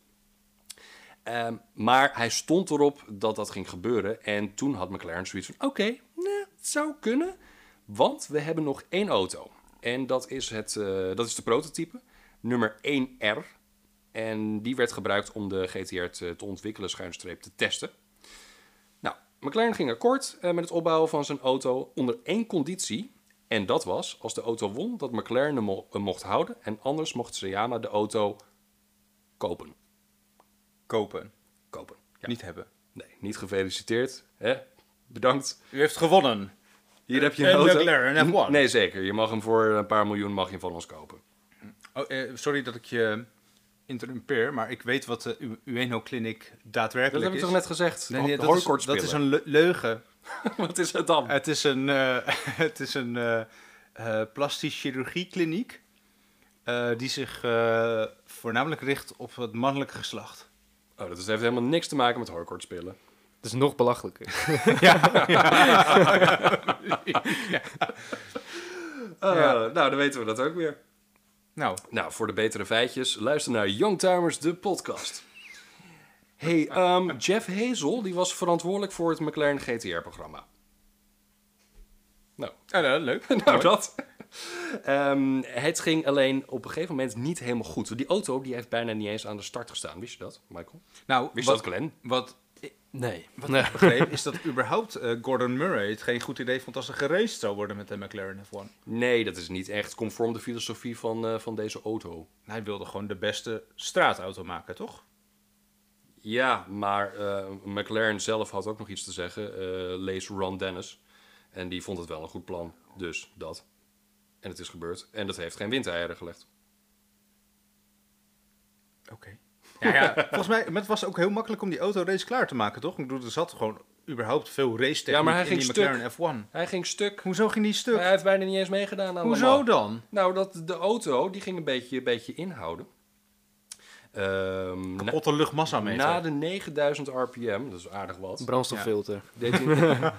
Ehm, maar hij stond erop dat dat ging gebeuren. En toen had McLaren zoiets van: oké, nee, het zou kunnen. Want we hebben nog één auto. En dat is, het, eh, dat is de prototype, nummer 1R. En die werd gebruikt om de GTR te, te ontwikkelen, schuinstreep te testen. Nou, McLaren ging akkoord eh, met het opbouwen van zijn auto onder één conditie. En dat was, als de auto won, dat McLaren hem mo- hem mocht houden. En anders mocht Sayama de auto kopen. Kopen. kopen. Niet hebben. Nee, niet gefeliciteerd. Hè? Bedankt. U heeft gewonnen. Hier heb je En een auto. McLaren F1. Nee, zeker. Je mag hem voor een paar miljoen mag je hem van ons kopen. Oh, eh, sorry dat ik je interrumpeer, maar ik weet wat de U- Ueno Clinic daadwerkelijk Dat heb ik is. toch net gezegd? Nee, nee, dat, is, Hooikortspillen. dat is een le- leugen. Wat is het dan? Het is een, eh, het is een eh eh, plastisch chirurgiekliniek eh, die zich eh, voornamelijk richt op het mannelijke geslacht. Oh, dat heeft helemaal niks te maken met hooikortspillen. Het is nog belachelijker. Eh, Nou, dan weten we dat ook weer. Nou, Nou, voor de betere feitjes, luister naar Youngtimers, de podcast. Hey, ehm, Jeff Hazel, die was verantwoordelijk voor het McLaren GTR-programma. Nou, ja, nou, leuk. nou dat. Ehm, het ging alleen op een gegeven moment niet helemaal goed. Die auto die heeft bijna niet eens aan de start gestaan. Wist je dat, Michael? nou, Wist je wat, dat, Glenn? wat Nee. Wat ik begreep is dat überhaupt eh, Gordon Murray het geen goed idee vond als er geraced zou worden met de McLaren F1. Nee, dat is niet echt conform de filosofie van, eh, van deze auto. Hij wilde gewoon de beste straatauto maken, toch? Ja, maar eh, McLaren zelf had ook nog iets te zeggen. Eh, lees Ron Dennis. En die vond het wel een goed plan. Dus dat. En het is gebeurd. En dat heeft geen windeieren gelegd. Ja, ja, volgens mij maar het was ook heel makkelijk om die auto race klaar te maken, toch? Ik bedoel, er zat gewoon überhaupt veel race techniek Ja, maar hij in ging die stuk. McLaren F1. Hij ging stuk. Hoezo ging die stuk? Maar hij heeft bijna niet eens meegedaan aan Le Hoezo Mans. dan? Nou, dat, de auto die ging een beetje, een beetje inhouden. Ehm, na, Kapotte luchtmassameter. na de 9000 rpm, dat is aardig wat. Brandstoffilter. deed hij-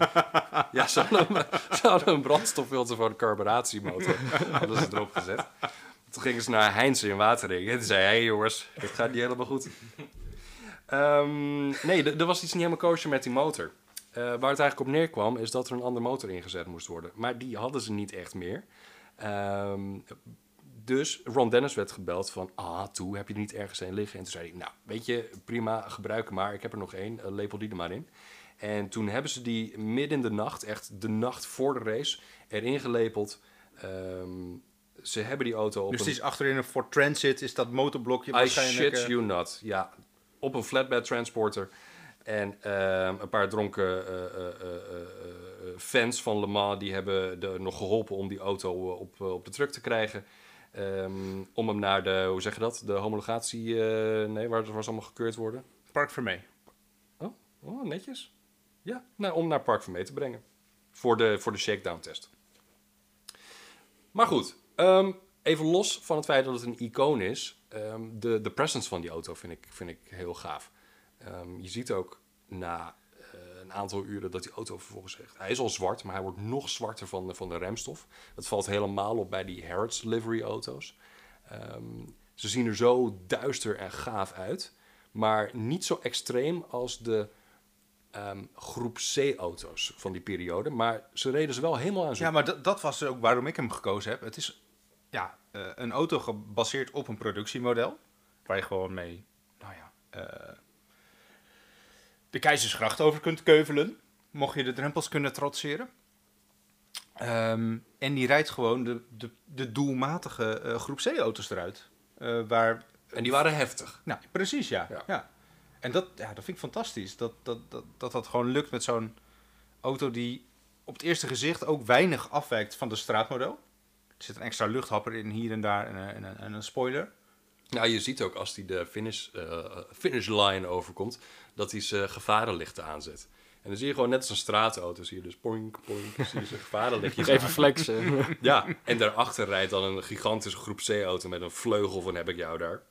ja, ze hadden, een, ze hadden een brandstoffilter voor de carburatiemotor. Hadden ze erop gezet. Toen gingen ze naar Heinz in Wateringen. En toen zei hij, hey, jongens, dit gaat niet helemaal goed. Ehm, nee, er er was iets niet helemaal kosher met die motor. Eh, waar het eigenlijk op neerkwam, is dat er een andere motor ingezet moest worden. Maar die hadden ze niet echt meer. Ehm, dus Ron Dennis werd gebeld van, ah, toe, heb je er niet ergens een liggen? En toen zei hij, nou, weet je, prima, gebruik hem maar. Ik heb er nog één, eh, lepel die er maar in. En toen hebben ze die midden in de nacht, echt de nacht voor de race, erin gelepeld. Ehm, ze hebben die auto op Dus een... die is achterin een Ford Transit, is dat motorblokje I waarschijnlijk... shit eh, you not. Ja, op een flatbed transporter. En ehm, een paar dronken eh, eh, eh, eh, eh, fans van Le Mans... die hebben de, nog geholpen om die auto eh, op, eh, op de truck te krijgen. Ehm, om hem naar de, hoe zeg je dat? De homologatie, eh, nee, waar het was allemaal gekeurd worden. Park Vermee. Oh, oh netjes. Ja, nou, om naar Park van mee te brengen. Voor de, voor de shakedown test. Maar goed, ehm, even los van het feit dat het een icoon is. ehm, de, de presence van die auto vind ik, vind ik heel gaaf. Ehm, je ziet ook na eh, een aantal uren dat die auto vervolgens echt... Hij is al zwart, maar hij wordt nog zwarter van de, van de remstof. Dat valt helemaal op bij die Harrods livery auto's. Ehm, ze zien er zo duister en gaaf uit. Maar niet zo extreem als de ehm, groep C-auto's van die periode. Maar ze reden ze wel helemaal aan Ja, zo'n maar dat, dat was ook waarom ik hem gekozen heb. Het is ja, eh, een auto gebaseerd op een productiemodel. Waar je gewoon mee, nou ja, eh, de keizersgracht over kunt keuvelen. Mocht je de drempels kunnen trotseren. Ehm, en die rijdt gewoon de, de, de doelmatige eh, groep C-auto's eruit. Eh, waar, En die waren heftig. nou, precies ja. ja. Ja. En dat, ja, dat vind ik fantastisch. Dat dat, dat, dat dat gewoon lukt met zo'n auto die op het eerste gezicht ook weinig afwijkt van de straatmodel. Er zit een extra luchthapper in hier en daar en, een- en, een- en een spoiler. Nou, je ziet ook als hij de finish, eh, finish line overkomt, dat hij zijn gevarenlichten aanzet. En dan zie je gewoon net als een straatauto, zie je dus poink, poink, dan zie je zijn gevarenlichtjes Even flexen. Ja, en daarachter rijdt dan een gigantische groep C-auto met een vleugel van heb ik jou daar.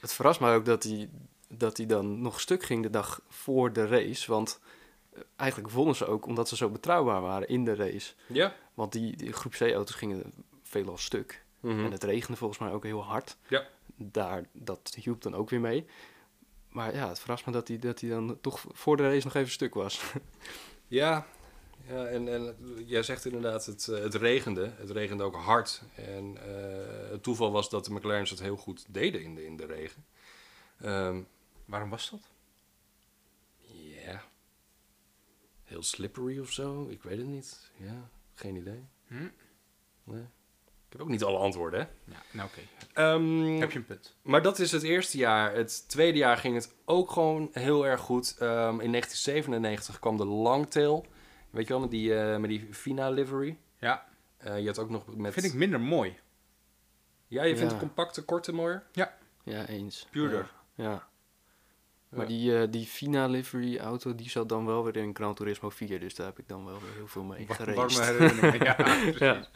Het verrast mij ook dat hij, dat hij dan nog stuk ging de dag voor de race. Want eh, eigenlijk wonnen ze ook omdat ze zo betrouwbaar waren in de race. Ja, Want die, die groep C-auto's gingen veelal stuk. En het regende volgens mij ook heel hard. ja. Daar, dat hielp dan ook weer mee. Maar ja, het verrast me dat hij, dat hij dan toch voor de race nog even stuk was. Ja, ja en, en jij zegt inderdaad, het, eh, het regende. Het regende ook hard. En eh, het toeval was dat de McLaren's het heel goed deden in de, in de regen. Ehm, Waarom was dat? Ja. Heel slippery of zo. Ik weet het niet. Ja, geen idee. Hm? Nee. Ik heb ook niet alle antwoorden, hè? Ja, nou oké. Ehm, Heb je een punt? maar dat is het eerste jaar. Het tweede jaar ging het ook gewoon heel erg goed. Ehm, in 1997 kwam de Longtail. Weet je wel, met die, eh, met die Fina livery. Ja, Eh, je had ook nog met... vind ik minder mooi. Ja, je vindt Ja. compacte, korte mooier? Ja, ja, eens. puurder. Ja. Maar die, eh, die Fina livery auto, die zat dan wel weer in Gran Turismo 4. Dus daar heb ik dan wel weer heel veel mee Wa- gereden. warme herinneringen. Ja, precies. Ja.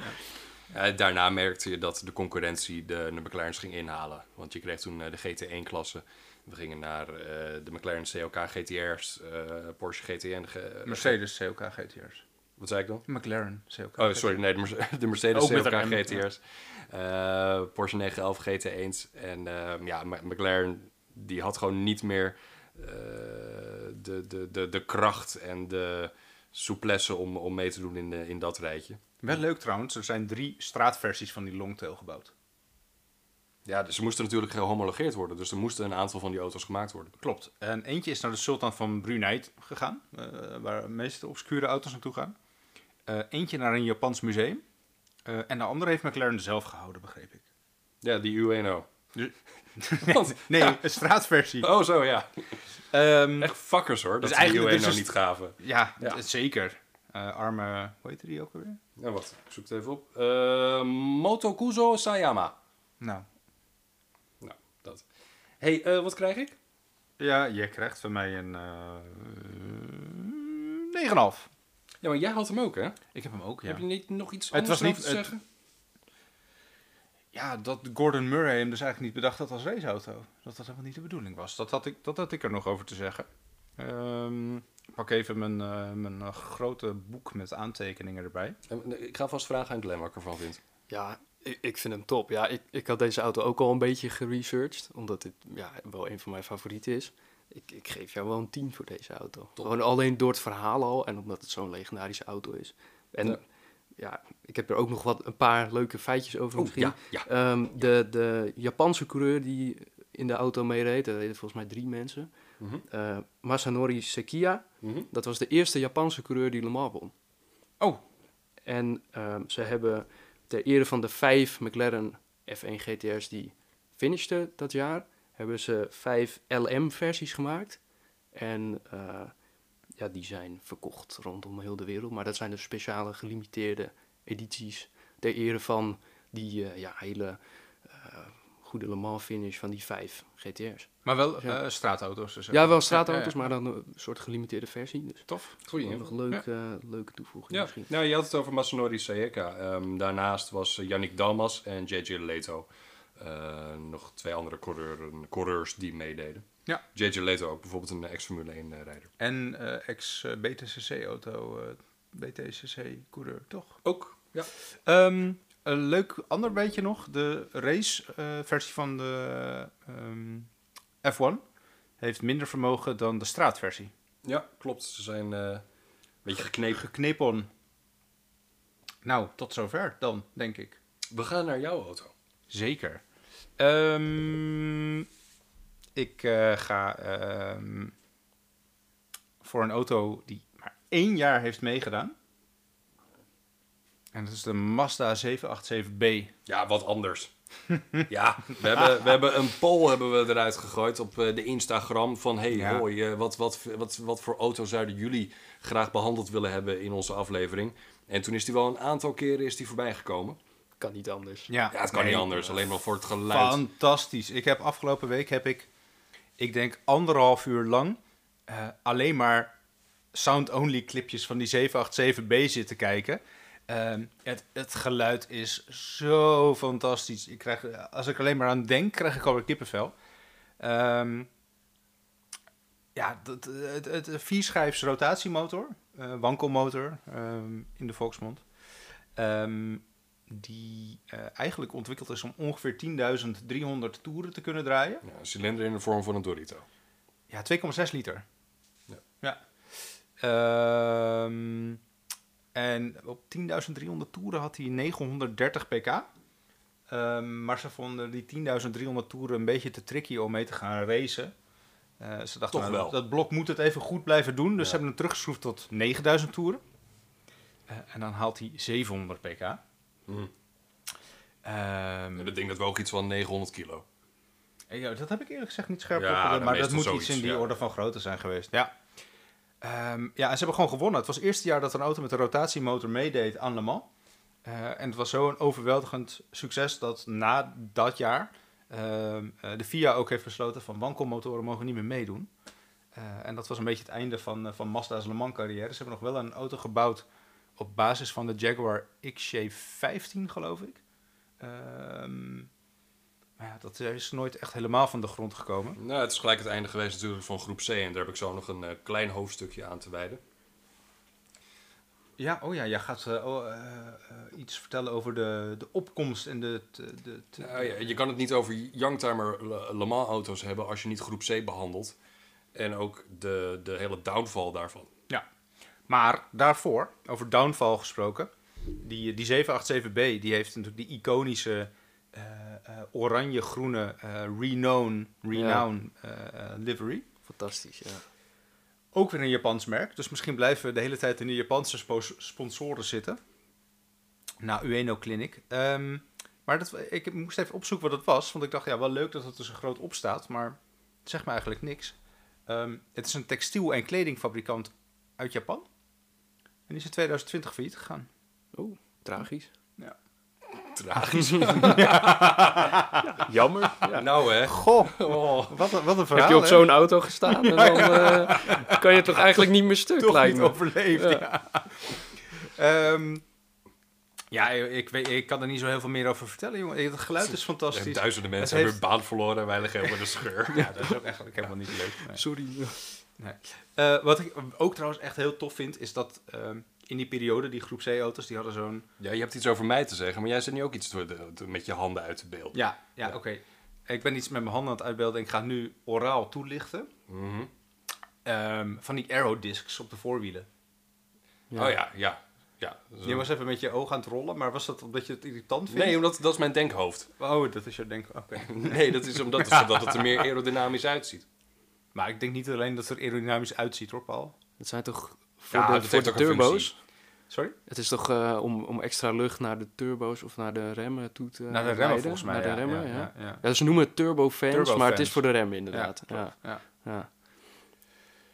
Eh, daarna merkte je dat de concurrentie de, de McLaren's ging inhalen. Want je kreeg toen eh, de GT1-klasse. We gingen naar eh, de McLaren CLK GTR's, eh, Porsche GTN. ge- Mercedes CLK GTR's. eh, wat zei ik dan? McLaren CLK. Oh, sorry, nee, de, Merce- de Mercedes Ook met CLK een M, GTR's. eh, Porsche 911 GT1's. En eh, ja, Ma- McLaren die had gewoon niet meer eh, de, de, de, de kracht en de souplesse om, om mee te doen in, de- in dat rijtje. Wel leuk trouwens, er zijn drie straatversies van die longtail gebouwd. Ja, dus ze moesten natuurlijk gehomologeerd worden. Dus er moesten een aantal van die auto's gemaakt worden. Klopt. En eentje is naar de Sultan van Brunei gegaan, eh, waar de meeste obscure auto's naartoe gaan. Eh, eentje naar een Japans museum. Eh, en de andere heeft McLaren zelf gehouden, begreep ik. Ja, die UNO. Nee, nee een straatversie. Oh, zo ja. Ehm, Echt fuckers hoor. Dat Dus dus eigenlijk eigenlijk- dit die is UNO een niet gaven. ja, Ja. d- zeker. Eh, arme, hoe heet die ook alweer? Ja, wacht, ik zoek het even op. Eh, Motokuzo Sayama. Nou, Nou, dat dat. hey, eh, wat krijg ik? Ja, jij krijgt van mij een eh, 9,5. Ja, maar jij had hem ook, hè? Ik heb hem ook, ja. Heb je niet nog iets Het anders was over niet- te het- zeggen? Ja, dat Gordon Murray hem dus eigenlijk niet bedacht had als raceauto. Dat dat helemaal niet de bedoeling was. Dat had ik, dat had ik er nog over te zeggen. Ehm, ik pak even mijn, eh, mijn eh, grote boek met aantekeningen erbij. Eh, Ik ga vast vragen aan Glenn wat ik ervan vind. Ja, ik, ik vind hem top. Ja, ik, ik had deze auto ook al een beetje geresearched, omdat dit ja, wel een van mijn favorieten is. Ik, ik geef jou wel een 10 voor deze auto. Gewoon alleen door het verhaal al en omdat het zo'n legendarische auto is. En Ja. ja. ik heb er ook nog wat, een paar leuke feitjes over Oh, misschien. ja, ja. Ehm, de, de Japanse coureur die in de auto meereed, dat deden volgens mij drie mensen. Eh, Masanori Sekiya, Mhm. dat was de eerste Japanse coureur die Le Mans won. Oh, En ehm, ze hebben ter ere van de vijf McLaren F1 GTR's die finishten dat jaar, hebben ze vijf LM-versies gemaakt. En eh, ja, die zijn verkocht rondom heel de wereld. Maar dat zijn dus speciale gelimiteerde edities ter ere van die eh, ja, hele eh, goede Le Mans finish van die vijf GTR's. maar wel Ja. eh, straatauto's. Dus, eh. Ja, wel straatauto's, Ja, ja, maar dan een soort gelimiteerde versie. Dus Tof. Goeie. wel nog een leuk, eh, leuke toevoeging Ja, misschien. nou, je had het over Masanori Saeka. Ehm, daarnaast was eh, Yannick Dalmas en JJ Leto. eh, nog twee andere coureuren- coureurs die meededen. Ja. JJ Leto ook bijvoorbeeld een ex-Formule 1-rijder. En eh ex-BTCC-auto, BTCC-coureur, toch? Ook, ja. Ehm, een leuk ander beetje nog. De race-versie van de ehm, F1 heeft minder vermogen dan de straatversie. Ja, klopt. Ze zijn eh, een beetje geknepen. Geknepen. Nou, tot zover dan, denk ik. We gaan naar jouw auto. Zeker. Ehm, ik eh, ga ehm, voor een auto die maar één jaar heeft meegedaan. En dat is de Mazda 787B. Ja, wat anders. ja, we hebben, we hebben een poll hebben we eruit gegooid op eh, de Instagram van... hey, Ja. hoi, eh, wat, wat, wat, wat voor auto zouden jullie graag behandeld willen hebben in onze aflevering? En toen is die wel een aantal keren is die voorbijgekomen. Kan niet anders. Ja, het kan nee, niet anders. Alleen maar voor het geluid. Fantastisch. Ik heb afgelopen week heb ik, ik denk anderhalf uur lang eh, alleen maar sound-only clipjes van die 787B zitten kijken. Ehm, het, het geluid is zo fantastisch. Ik krijg, als ik alleen maar aan denk, krijg ik alweer kippenvel. Ehm, ja, dat, het, het, het vierschijfs rotatiemotor, eh, wankelmotor ehm, in de volksmond. Ehm, die eh, eigenlijk ontwikkeld is om ongeveer 10.300 toeren te kunnen draaien. Ja, een cilinder in de vorm van een Dorito. Ja, 2,6 liter. Ja. Ja. Ehm, en op 10.300 toeren had hij 930 pk. Ehm, maar ze vonden die 10.300 toeren een beetje te tricky om mee te gaan racen. Eh, ze dachten, Toch nou, wel. dat blok moet het even goed blijven doen. Dus Ja. ze hebben hem teruggeschroefd tot 9.000 toeren. Eh, en dan haalt hij 700 pk. Mm. Ehm, En dat ding dat woog iets van 900 kilo. Eh, ja, dat heb ik eerlijk gezegd niet scherp Ja, opgelet, dan maar dat meestal moet zoiets, iets in die ja. orde van grootte zijn geweest. Ja. Ehm, ja, en ze hebben gewoon gewonnen. Het was het eerste jaar dat een auto met een rotatiemotor meedeed aan Le Mans. Eh, en het was zo'n overweldigend succes dat na dat jaar ehm, eh, de FIA ook heeft besloten van wankelmotoren mogen niet meer meedoen. Eh, en dat was een beetje het einde van, eh, van Mazda's Le Mans carrière. Ze hebben nog wel een auto gebouwd op basis van de Jaguar XJ15 geloof ik. Ehm, maar ja, dat is nooit echt helemaal van de grond gekomen. Nou, het is gelijk het einde geweest natuurlijk van groep C. En daar heb ik zo nog een eh, klein hoofdstukje aan te wijden. Ja, oh ja, jij gaat eh, oh, eh, eh, iets vertellen over de, de opkomst en de... de, de, de- Nou ja, je kan het niet over Youngtimer Le- Le Mans auto's hebben als je niet groep C behandelt. En ook de, de hele downfall daarvan. Ja. Maar daarvoor, over downfall gesproken, die, die 787B, die heeft natuurlijk die iconische eh, eh, oranje-groene eh renown, renown eh, eh, livery. Fantastisch, ja. Ook weer een Japans merk. Dus misschien blijven we de hele tijd in de Japanse spo- sponsoren zitten. Na Ueno Clinic. Ehm, maar dat, ik moest even opzoeken wat het was. Want ik dacht, ja, wel leuk dat het er zo groot op staat. Maar het zegt me eigenlijk niks. Ehm, het is een textiel- en kledingfabrikant uit Japan. En die is in 2020 failliet gegaan. Oeh, tragisch. tragisch. Jammer. Ja. Nou hè. Goh, wat, een- wat een verhaal. Heb je op hè? zo'n auto gestaan en dan eh, kan je toch eigenlijk niet meer stuk, toch lijkt niet me. overleefd. Ja, Ehm, ja ik, ik weet, ik kan er niet zo heel veel meer over vertellen, jongen. Het geluid is fantastisch. Duizenden Het mensen heeft- hebben hun baan verloren en wij liggen helemaal in de scheur. Ja, dat is ook eigenlijk helemaal niet leuk. Nee. Sorry. Eh, wat ik ook trouwens echt heel tof vind, is dat ehm, in die periode die groep C-auto's, die hadden zo'n... Ja, je hebt iets over mij te zeggen, maar jij zit nu ook iets te- te- te- met je handen uit het beeld. Ja, ja, oké. Ik ben iets met mijn handen aan het uitbeelden en ik ga het nu oraal toelichten. Mhm. Ehm, van die aerodiscs op de voorwielen. Oh ja, ja. ja. Zo- Je was even met je oog aan het rollen, maar was dat omdat je het irritant vindt? Nee, omdat dat is mijn denkhoofd. Oh, dat is jouw denken. Oké. Nee, dat is omdat, dat is omdat het er meer aerodynamisch uitziet. Maar ik denk niet alleen dat het er aerodynamisch uitziet, hoor, Paul. Dat zijn toch voor Ja, de, dat voor heeft de ook een turbo's? functie. Sorry? Het is toch eh, om, om extra lucht naar de turbo's of naar de remmen toe te Naar de remmen, leiden? volgens mij, Naar de ja, remmen, ja, ja. ja, ja. Ja, ze noemen het turbofans, maar het Turbofans. is voor de remmen inderdaad. Ja, ja. Ja,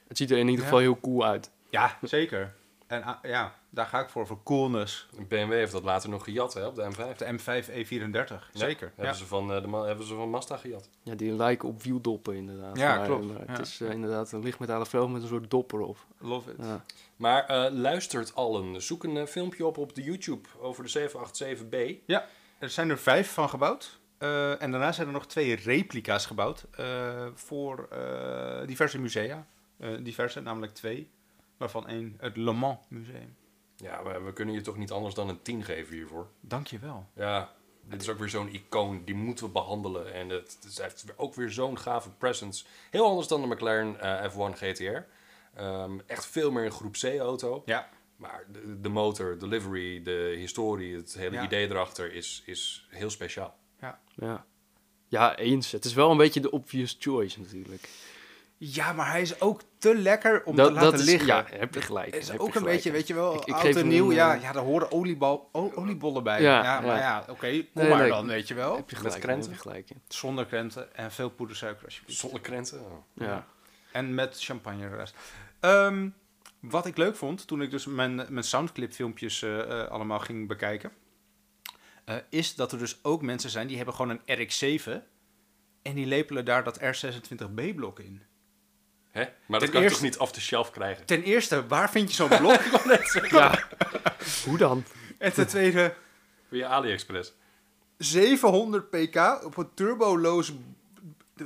Het ziet er in ieder Ja. geval heel cool uit. ja zeker. En ah, ja, daar ga ik voor, voor coolness. BMW heeft dat later nog gejat hè, op de M5. De M5 E34, zeker. Hebben, Ja. ze van, eh, de, ma- hebben ze van Mazda gejat. Ja, die lijken op wieldoppen inderdaad. Ja, Maar- klopt. maar het Ja. is eh, inderdaad een lichtmetalen vleugel met een soort dopper op. Love it. Ja. Maar eh, luistert allen. Zoek een eh, filmpje op op de YouTube over de 787B. Ja, er zijn er vijf van gebouwd. Eh, en daarna zijn er nog twee replica's gebouwd eh, voor eh, diverse musea. Eh, diverse, namelijk twee. Waarvan één het Le Mans Museum. Ja, maar we kunnen je toch niet anders dan een 10 geven hiervoor. Dankjewel. Ja, dit is ook weer zo'n icoon. Die moeten we behandelen. En het, het heeft ook weer zo'n gave presence. Heel anders dan de McLaren eh, F1 GTR. Ehm, echt veel meer een groep C-auto. Ja, Maar de, de motor, de livery, de historie, het hele Ja. idee erachter is, is heel speciaal. ja. Ja. ja, eens. Het is wel een beetje de obvious choice natuurlijk. ja, maar hij is ook te lekker om te laten is, liggen. Ja, heb je gelijk. Het is heb ook je een gelijk. beetje, weet je wel, Ik- ik oud geef en hem nieuw. een, ja, eh, ja, daar horen oliebal, o- oliebollen bij. Ja, Ja, maar ja. ja, oké, kom Nee, maar nee, dan, weet je wel. Heb Met je gelijk. krenten? Heb je gelijk. in. Zonder krenten en veel poedersuiker alsjeblieft. Zonder krenten. oh. Ja. En met champagne ernaast. Ehm, wat ik leuk vond, toen ik dus mijn, mijn soundclip filmpjes allemaal ging bekijken... eh, is dat er dus ook mensen zijn die hebben gewoon een RX-7... en die lepelen daar dat R26B-blok in. Hè? Maar dat kan je eerste- toch niet af de shelf krijgen? Ten eerste, waar vind je zo'n blok? Hoe dan? en ten tweede, Via AliExpress. 700 pk op een turboloos,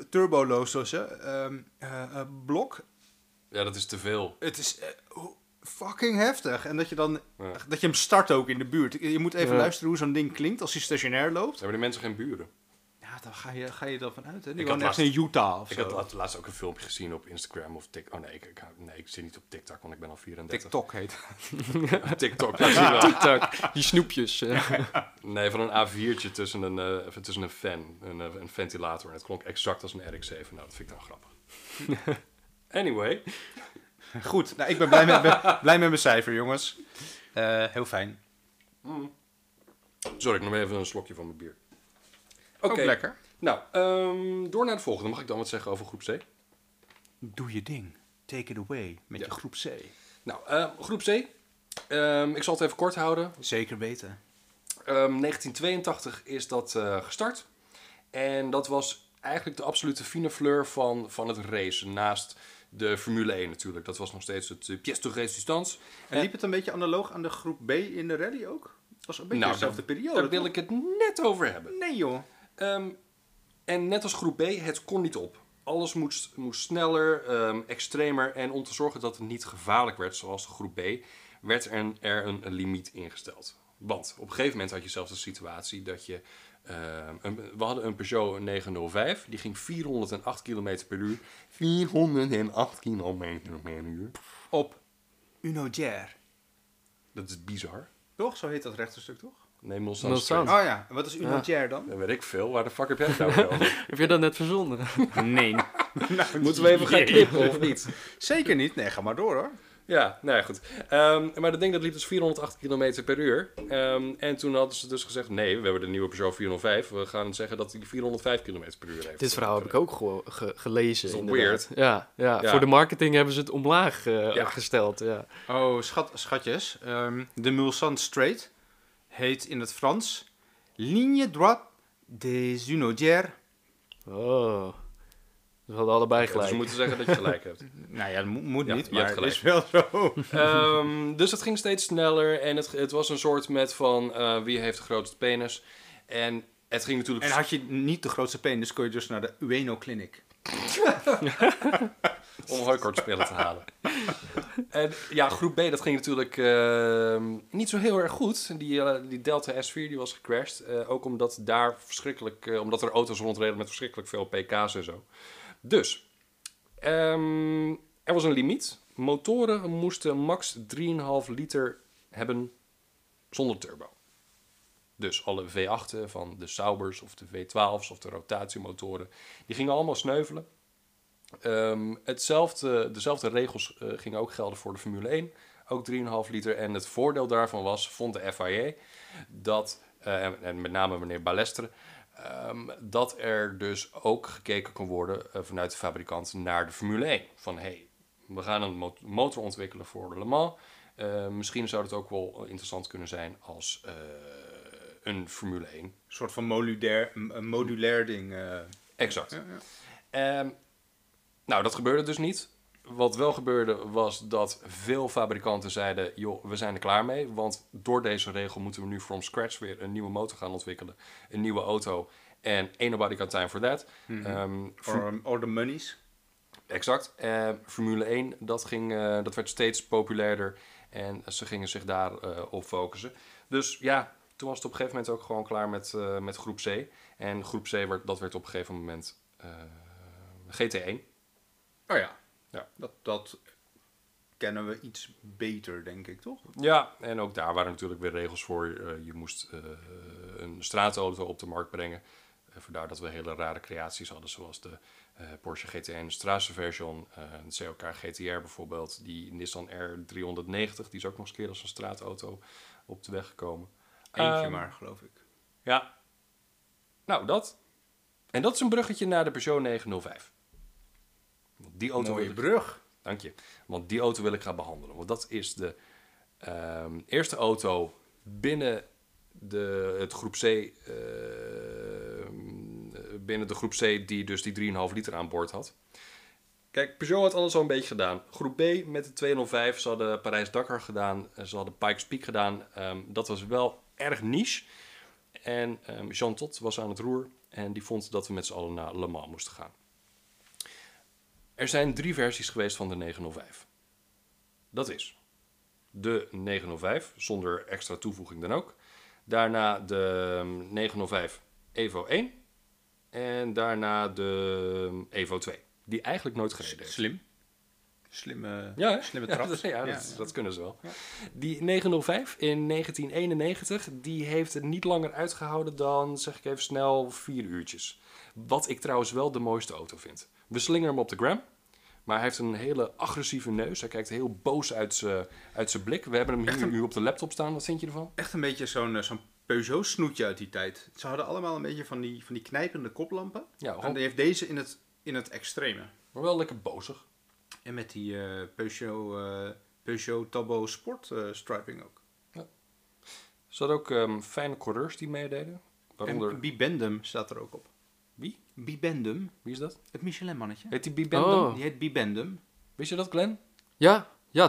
turboloos ehm eh, eh, blok. Ja, dat is te veel. Het is eh, ho- fucking heftig. En dat je dan Ja. dat je hem start ook in de buurt. Je je moet even Ja. luisteren hoe zo'n ding klinkt als hij stationair loopt. Hebben die mensen geen buren? Ja, dan ga je, ga je dan vanuit. Hè? Die Ik woont had ergens in Utah of Ik zo. had laat- laatst ook een filmpje gezien op Instagram of TikTok. Oh nee ik, ik, nee, ik zit niet op TikTok, want ik ben al 34. TikTok heet. TikTok, dat zie je wel. Tak, die snoepjes. eh. Nee, van een A4'tje tussen een, eh, even tussen een fan, een, eh, een ventilator. En het klonk exact als een RX-7. Nou, dat vind ik dan grappig. anyway, Goed, nou, ik ben blij met, ben blij met mijn cijfer, jongens. Eh, heel fijn. sorry, ik neem even een slokje van mijn bier. Oké, Ook lekker. Nou, ehm, door naar het volgende. Mag ik dan wat zeggen over groep C? Doe je ding. Take it away met Ja. je groep C. Nou, eh, groep C. Ehm, ik zal het even kort houden. Zeker weten. Ehm, 1982 is dat eh, gestart. En dat was eigenlijk de absolute fine fleur van, van het racen. Naast de Formule 1 natuurlijk. Dat was nog steeds het eh, pièce de résistance. En liep het een beetje analoog aan de groep B in de rally ook? Dat was een beetje Nou, dezelfde daar- periode. Daar wil toch? ik het net over hebben. Nee, joh. Ehm, en net als groep B, het kon niet op. Alles moest, moest sneller, ehm, extremer. En om te zorgen dat het niet gevaarlijk werd, zoals de groep B, werd er een, er een limiet ingesteld. Want op een gegeven moment had je zelfs de situatie dat je. ehm, een, we hadden een Peugeot 905, die ging 408 km per uur. 408 km per uur. Op Unojair. Dat is bizar. Toch? Zo heet dat rechterstuk, toch? Neem ons Mulsanne. aan. Oh ja, en wat is Unojair dan? Dan weet ik veel. Waar de fuck heb jij het nou over? Heb je dat net verzonnen? Nee. Nou, Moeten we even gaan knippen of niet? Zeker niet. Nee, ga maar door hoor. Ja, nou ja, goed. Ehm, maar dat ding dat liep dus 408 km per uur. Ehm, en toen hadden ze dus gezegd, nee, we hebben de nieuwe Peugeot 405. We gaan zeggen dat hij 405 km per uur heeft. Dit verhaal heb ik ook geho- ge- gelezen. Is toch inderdaad. Ja, ja, Ja. voor de marketing hebben ze het omlaag eh, Ja. gesteld. Ja. Oh, schat, schatjes. Ehm, de Mulsanne Strait heet in het Frans Ligne droite des unodières. Oh. Dus we hadden allebei Dus gelijk. we moeten zeggen dat je gelijk hebt. Nou ja, dat mo- moet Ja, niet, je maar hebt het is wel zo. Ehm, dus het ging steeds sneller en het, het was een soort met van eh, wie heeft de grootste penis. En het ging natuurlijk... En had je niet de grootste penis, kon je dus naar de Ueno Clinic. om hooikortspelen te halen. En ja, groep B, dat ging natuurlijk ehm, niet zo heel erg goed. Die, eh, die Delta S4 die was gecrashed. Eh, ook omdat daar verschrikkelijk, eh, omdat er auto's rondreden met verschrikkelijk veel pk's en zo. Dus, ehm, er was een limiet. Motoren moesten max 3,5 liter hebben zonder turbo. Dus alle V8'en van de Saubers of de V12's of de rotatiemotoren, die gingen allemaal sneuvelen. Ehm, hetzelfde, dezelfde regels eh, gingen ook gelden voor de Formule 1. Ook 3,5 liter. En het voordeel daarvan was, vond de FIA, dat, eh, en, en met name meneer Balestre, ehm, dat er dus ook gekeken kon worden eh, vanuit de fabrikant naar de Formule 1. Van hey, we gaan een mot- motor ontwikkelen voor de Le Mans. Eh, misschien zou het ook wel interessant kunnen zijn als eh, een Formule 1 Een soort van modulair, m- een modulair ding. eh. Exact. Ehm, nou, dat gebeurde dus niet. Wat wel gebeurde was dat veel fabrikanten zeiden: joh, we zijn er klaar mee. Want door deze regel moeten we nu from scratch weer een nieuwe motor gaan ontwikkelen. Een nieuwe auto. En ain't nobody got time for that. Ehm, Or, or the monies. Exact. Eh, Formule 1, dat, ging, eh, dat werd steeds populairder en ze gingen zich daar eh, op focussen. Dus ja, toen was het op een gegeven moment ook gewoon klaar met, eh, met groep C. En groep C, werd, dat werd op een gegeven moment eh, GT1. Oh ja, Ja. Dat, dat kennen we iets beter, denk ik, toch? Ja, en ook daar waren natuurlijk weer regels voor. Eh, je moest eh, een straatauto op de markt brengen. Eh, vandaar dat we hele rare creaties hadden, zoals de eh, Porsche GTN Straatversion, eh een CLK GTR bijvoorbeeld, die Nissan R390, die is ook nog eens een keer als een straatauto op de weg gekomen. Eentje Ehm, maar, geloof ik. Ja. Nou, dat. En dat is een bruggetje naar de Peugeot 905. Want die auto wil Mooie ik- brug. Dank je. Want die auto wil ik gaan behandelen. Want dat is de ehm, eerste auto binnen de, het groep C. ehm, binnen de groep C die dus die 3,5 liter aan boord had. Kijk, Peugeot had alles al een beetje gedaan. Groep B met de 205. Ze hadden Parijs-Dakar gedaan. eh, Ze hadden Pikes Peak gedaan. Ehm, dat was wel erg niche. En ehm, Jean Tot was aan het roer. En die vond dat we met z'n allen naar Le Mans moesten gaan. Er zijn drie versies geweest van de 905. Dat is de 905 zonder extra toevoeging dan ook. Daarna de ehm, 905 Evo 1. En daarna de ehm, Evo 2. Die eigenlijk nooit gereden heeft. Slim. Slimme, Ja, hè? slimme Ja, trap. dat- ja, dat, dat kunnen ze wel. Die 905 in 1991, die heeft het niet langer uitgehouden dan, zeg ik even snel, vier uurtjes. Wat ik trouwens wel de mooiste auto vind. We slingeren hem op de gram, maar hij heeft een hele agressieve neus. Hij kijkt heel boos uit zijn uit zijn blik. We hebben hem hier nu op de laptop staan. Wat vind je ervan? Echt een beetje zo'n eh, zo'n Peugeot-snoetje uit die tijd. Ze hadden allemaal een beetje van die, van die knijpende koplampen. Ja, en gewoon- die heeft deze in het, in het extreme. Maar wel lekker bozig. En met die eh, Peugeot, eh, Peugeot Turbo Sport eh, striping ook. Er zaten ook ehm, fijne coureurs die meededen. En Waaronder, Bibendum staat er ook op. wie? Bibendum, Wie is dat? het Michelin-mannetje. Heet die Bibendum? Oh. Die heet Bibendum. Wist je dat, Glenn? Ja, ja,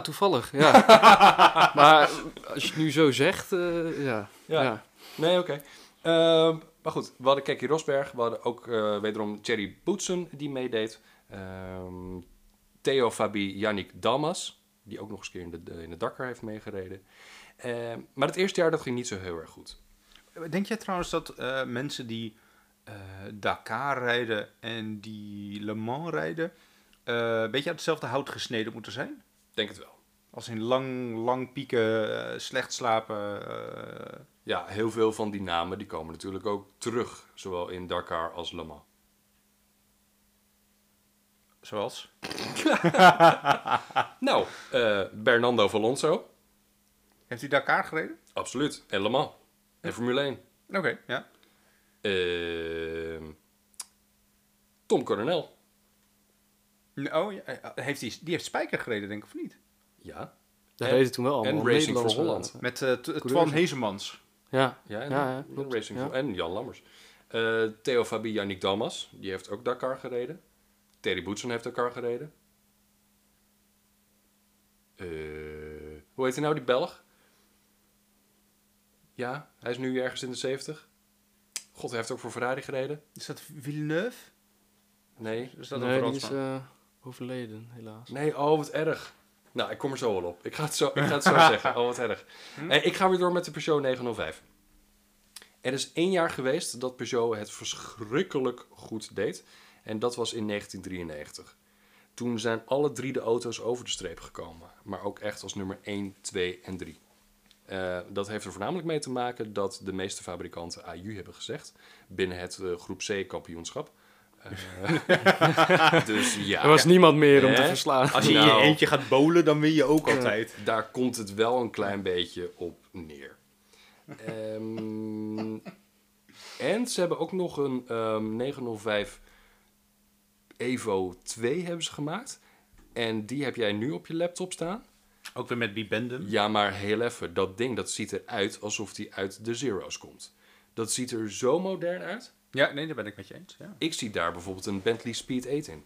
toevallig. Ja. maar eh, als je het nu zo zegt, eh, ja. Ja. Ja. Nee, oké. Ehm, maar goed, we hadden Kekkie Rosberg. We hadden ook eh, wederom Thierry Boetsen die meedeed. Ehm, Theo Fabi Yannick Damas, die ook nog eens een keer in de, in de Dakar heeft meegereden. Ehm, maar het eerste jaar dat ging niet zo heel erg goed. Denk jij trouwens dat eh, mensen die eh, Dakar rijden en die Le Mans rijden... eh, een beetje uit hetzelfde hout gesneden moeten zijn? Ik Denk het wel. Als in lang, lang pieken, eh, slecht slapen. eh, Ja, heel veel van die namen die komen natuurlijk ook terug, zowel in Dakar als Le Mans. zoals? Nou, eh, Bernardo Alonso, Heeft u Dakar gereden? absoluut. En Le Mans. En Formule 1. Oké, ja. Ehm, Tom Coronel. Oh, ja, eh, heeft die, die heeft Spijker gereden, denk ik, of niet? Ja, Dat En- deden toen wel allemaal. en Racing Nederlanders for Holland. aan. Met eh, T- Coureurs. Twan Hezemans. Ja, Ja, en, ja, ja, ja, klopt. Racing Ja. Force. en Jan Lammers. Eh, Theo Fabie, Yannick Damas, die heeft ook Dakar gereden. Terry Boetsen heeft Dakar gereden. Eh, hoe heet hij nou, die Belg? Ja, hij is nu ergens in de 70. God, hij heeft ook voor Ferrari gereden. Is dat Villeneuve? Nee. Is dat een nee, die is Fransman? eh, overleden, helaas. Nee, oh, wat erg. Nou, ik kom er zo wel op. Ik ga het zo, ik ga het zo zeggen. Oh, wat erg. Hm? Eh, ik ga weer door met de Peugeot 905. Er is één jaar geweest dat Peugeot het verschrikkelijk goed deed. En dat was in 1993. Toen zijn alle drie de auto's over de streep gekomen. Maar ook echt als nummer 1, 2 en 3. Eh, dat heeft er voornamelijk mee te maken dat de meeste fabrikanten AU hebben gezegd. Binnen het eh, groep C kampioenschap. Eh, dus ja. Er was niemand meer om te Hè? verslaan. Als je in Nou. je eentje gaat bowlen, dan win je ook altijd. daar komt het wel een klein beetje op neer. Ehm, en ze hebben ook nog een ehm, 905 Evo 2 hebben ze gemaakt. En die heb jij nu op je laptop staan. Ook weer met Bibendum. Ja, maar heel even. Dat ding dat ziet eruit alsof die uit de Zero's komt. Dat ziet er zo modern uit. Ja, nee, daar ben ik met je eens. Ja, Ik zie daar bijvoorbeeld een Bentley Speed 8 in.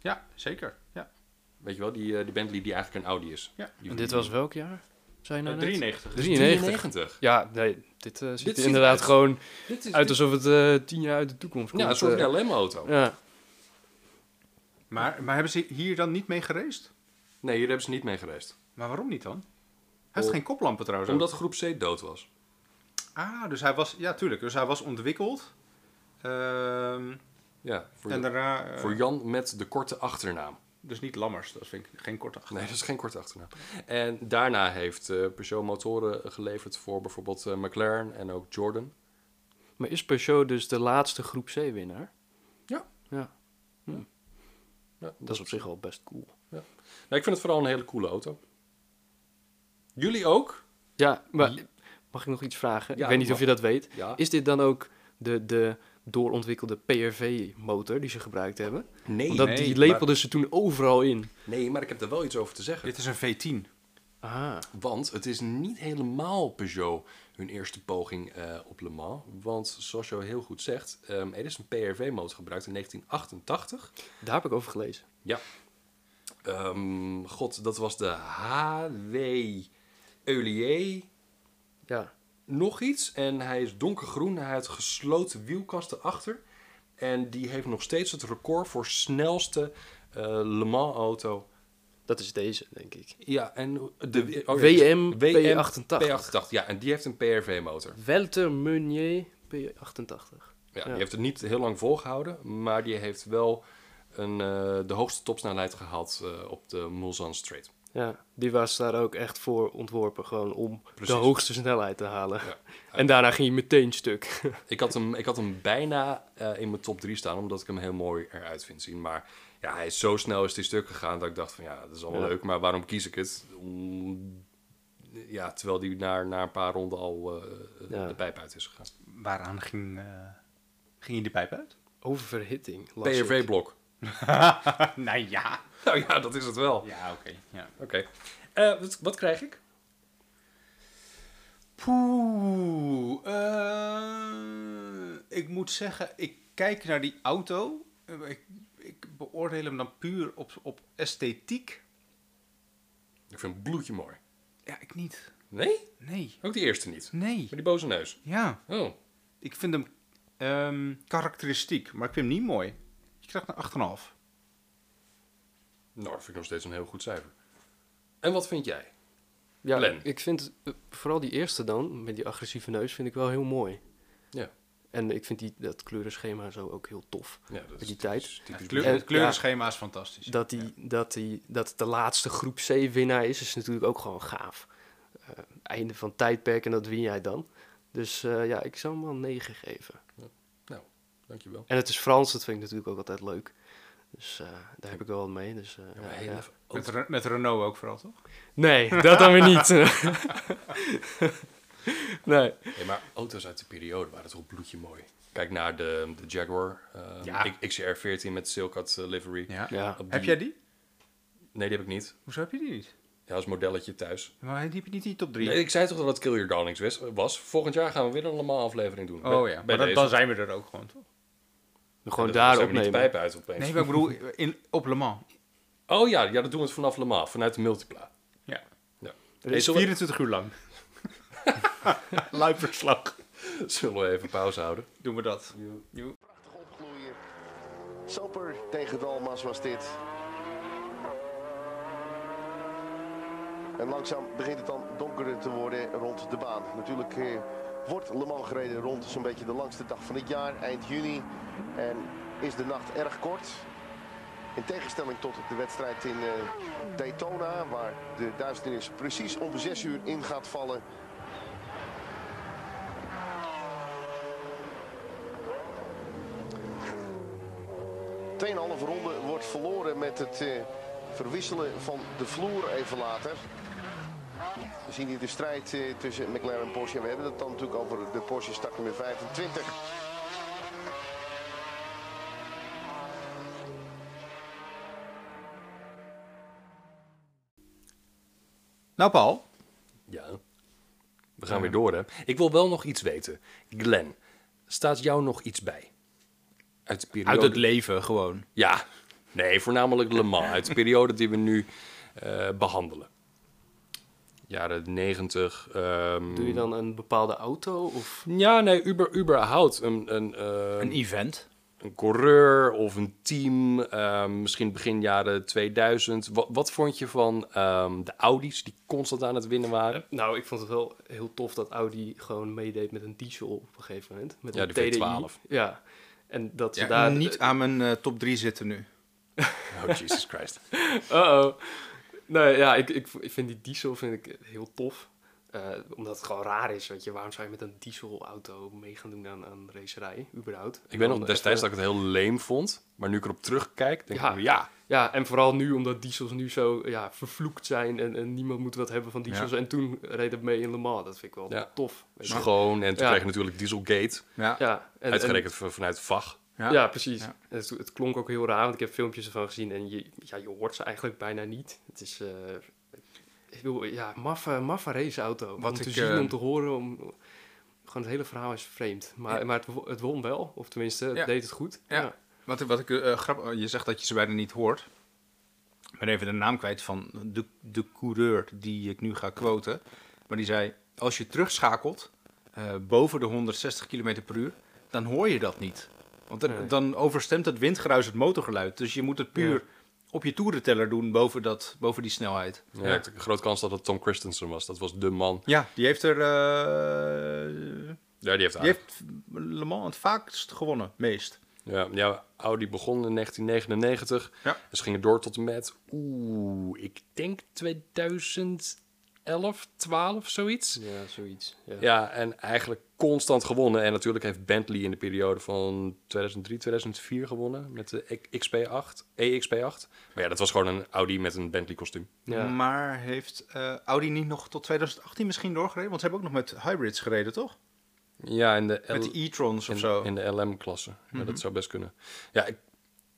ja zeker. Ja. Weet je wel, die, eh, die Bentley die eigenlijk een Audi is. Ja. Die- En dit was welk jaar? Zijn Eh, nou net? 93. 93. Ja, nee, dit eh ziet er ziet inderdaad uit- gewoon Dit is, uit alsof het eh, tien jaar uit de toekomst komt. ja, een soort eh. LM-auto. ja. Maar, maar hebben ze hier dan niet mee geraced? Nee, hier hebben ze niet mee gereisd. Maar waarom niet dan? Hij heeft Om- geen koplampen trouwens. ook. Omdat groep C dood was. Ah, dus hij was... Ja, tuurlijk. Dus hij was ontwikkeld. Ehm, Ja, voor, en daarna... eh, voor Jan met de korte achternaam. Dus niet Lammers. Dat vind ik geen korte Nee, dat is geen korte achternaam. En daarna heeft eh, Peugeot motoren geleverd voor bijvoorbeeld eh, McLaren en ook Jordan. Maar is Peugeot dus de laatste groep C-winnaar? Ja. ja. Hm. Ja, Dat is op zich wel best cool. Nou, ik vind het vooral een hele coole auto. Jullie ook? Ja, maar mag ik nog iets vragen? Ja, ik weet niet mag. of je dat weet. Ja. Is dit dan ook de, de doorontwikkelde PRV-motor die ze gebruikt hebben? Nee, Omdat nee, die lepelden ze toen overal in. nee, maar ik heb er wel iets over te zeggen. Dit is een V10. Ah, Want het is niet helemaal Peugeot hun eerste poging eh, op Le Mans. Want zoals je heel goed zegt, ehm, er is een PRV-motor gebruikt in 1988. daar heb ik over gelezen. Ja. Ehm, God, dat was de HW Eulier. Ja. Nog iets. En hij is donkergroen. Hij heeft gesloten wielkasten achter. En die heeft nog steeds het record voor snelste eh, Le Mans auto. Dat is deze, denk ik. Ja, en de oh ja, WM dus P88. P88. Ja, en die heeft een PRV-motor. Welter Meunier P88. Ja, Ja. Die heeft het niet heel lang volgehouden, maar die heeft wel een, eh, de hoogste topsnelheid gehaald eh, op de Mulsanne Strait. Ja, die was daar ook echt voor ontworpen. Gewoon om Precies. de hoogste snelheid te halen. Ja. En daarna ging je meteen stuk. Ik had hem, ik had hem bijna eh, in mijn top 3 staan, omdat ik hem heel mooi eruit vind zien. Maar ja, hij is zo snel is die stuk gegaan dat ik dacht van ja, dat is allemaal Ja. leuk, maar waarom kies ik het? Om- ja, terwijl die na, na een paar ronden al eh, Ja. de pijp uit is gegaan. Waaraan ging, eh, ging je die pijp uit? Oververhitting. las ik. PRV-blok. nou ja. Nou ja, dat is het wel. Ja, oké. Ja. Oké. Eh, wat, wat krijg ik? Poeh. eh, ik moet zeggen, ik kijk naar die auto. Eh, Ik, ik beoordeel hem dan puur op, op esthetiek. Ik vind bloedje mooi. Ja, ik niet. Nee? Nee. Ook die eerste niet. Nee. Met die boze neus. Ja. Oh. Ik vind hem ehm, karakteristiek, maar ik vind hem niet mooi. Ik krijg een 8,5. Nou, dat vind ik nog steeds een heel goed cijfer. En wat vind jij? Ja, Len. ik vind eh, vooral die eerste dan, met die agressieve neus, vind ik wel heel mooi. Ja. En ik vind die, dat kleurenschema zo ook heel tof. Ja, dat Met die tijd. typisch Kleur, Blue. het kleurenschema is fantastisch. Dat, die, dat, die, dat het de laatste groep C-winnaar is, is natuurlijk ook gewoon gaaf. Eh, einde van tijdperk en dat win jij dan. Dus eh, ja, ik zou hem wel 9 geven. Nou, dankjewel. En het is Frans, dat vind ik natuurlijk ook altijd leuk. Dus eh, daar heb ik wel wat mee. Dus, eh, Ja, maar ja, heel ja. even. Met, Re- met Renault ook vooral, toch? Nee, dat dan weer niet. nee. Hey, maar auto's uit de periode waren toch bloedje mooi. Kijk naar de, de Jaguar. eh, Ja. ik- XR14 met Silcat eh, livery. Ja. Op die- Heb jij die? Nee, die heb ik niet. Hoezo heb je die niet? Ja, als modelletje thuis. Maar hij liep niet in die top 3. Nee, ik zei toch dat het Kill Your Darlings was- was. Volgend jaar gaan we weer een normaal aflevering doen. oh Bij- ja, bij maar dan, deze. dan zijn we er ook gewoon, toch? Gewoon Ja, daar dan zijn we niet de opnemen. pijp uit opeens. Nee, maar ik bedoel, in, op Le Mans. Oh ja, ja, dat doen we het vanaf Le Mans, vanuit de multipla. Ja. Ja. Er Hey, is zullen, 24 uur lang. Live verslag. we, zullen we even pauze houden? Doen we dat. opgloeien. Soper tegen Dalmas was dit. En langzaam begint het dan donkerder te worden rond de baan. Natuurlijk eh, wordt Le Mans gereden rond zo'n beetje de langste dag van het jaar, eind juni. En is de nacht erg kort. In tegenstelling tot de wedstrijd in eh, Daytona, waar de duisternis precies om 6 uur in gaat vallen. Tweeënhalve ronde wordt verloren met het eh, verwisselen van de vloer even later. We zien hier de strijd eh, tussen McLaren en Porsche. We hebben het dan natuurlijk over de Porsche start nummer 25. Nou, Paul. Ja. We gaan weer door, hè? Ik wil wel nog iets weten. Glenn, staat jou nog iets bij? Uit de periode... Uit het leven gewoon. Ja. Nee, voornamelijk Le Mans. Uit de periode die we nu eh, behandelen. Jaren 90. ehm, Doe je dan een bepaalde auto? Of Ja, nee, uber, überhaupt een, een, eh, Een event. een coureur of een team. ehm, misschien begin jaren 2000. Wat, wat vond je van ehm, de Audi's die constant aan het winnen waren? Nou, ik vond het wel heel tof dat Audi gewoon meedeed met een diesel op een gegeven moment. Met Ja, een de TDI. V12. Ja, en dat ze Ja, daar... niet aan mijn eh, top 3 zitten nu. Oh, Jesus Christ. Uh-oh. Nee, ja, ik, ik, ik vind die diesel vind ik heel tof. Eh, omdat het gewoon raar is, weet je. Waarom zou je met een dieselauto mee gaan doen aan, aan racerij, überhaupt? Ik weet nog Dan destijds dat even- ik het heel leem vond. Maar nu ik erop terugkijk, denk eh, Ja. ik, ja, Ja, en vooral nu, omdat diesels nu zo ja, vervloekt zijn... En, en niemand moet wat hebben van diesels. Ja. En toen reed het mee in Le Mans. Dat vind ik wel Ja. tof. weet je. schoon. En toen Ja. kreeg je natuurlijk Dieselgate. Ja, en, en- uitgerekend van- vanuit VAG. Ja. Ja, precies. Ja. En Het, het klonk ook heel raar, want ik heb filmpjes ervan gezien en je, ja, je hoort ze eigenlijk bijna niet. Het is, eh, ik bedoel, ja, maffe, maffe raceauto. Wat om te ik, zien, eh, om te horen, om, gewoon het hele verhaal is vreemd. Maar, maar het, wo- het won wel, of tenminste, het Ja. deed het goed. Ja. Wat, ik- wat ik eh, grap, je zegt dat je ze bijna niet hoort. Ik ben even de naam kwijt van de, de coureur die ik nu ga quoten. Maar die zei, als je terugschakelt eh, boven de 160 km per uur, dan hoor je dat niet. Want dan, Nee. dan overstemt het windgeruis het motorgeluid. Dus je moet het puur Ja. op je toerenteller doen boven, dat, boven die snelheid. Ja. ik heb een grote kans dat het Tom Christensen was. Dat was de man. Ja, die heeft er... eh, Ja, die heeft, die heeft Le Mans het vaakst gewonnen, meest. Ja, ja, Audi begon in 1999. Ja. En ze gingen door tot en met, oeh, ik denk 2011, 12, zoiets. Ja, zoiets. Ja. Ja, en eigenlijk constant gewonnen. En natuurlijk heeft Bentley in de periode van 2003, 2004 gewonnen met de E- XP8, EXP8. Maar ja, dat was gewoon een Audi met een Bentley kostuum. Ja. Maar heeft eh, Audi niet nog tot 2018 misschien doorgereden? Want ze hebben ook nog met hybrids gereden, toch? Ja, in de L- Met de e-trons of Oh, in, zo. Mhm. in de LM-klasse. Ja, dat zou best kunnen. Ja, ik-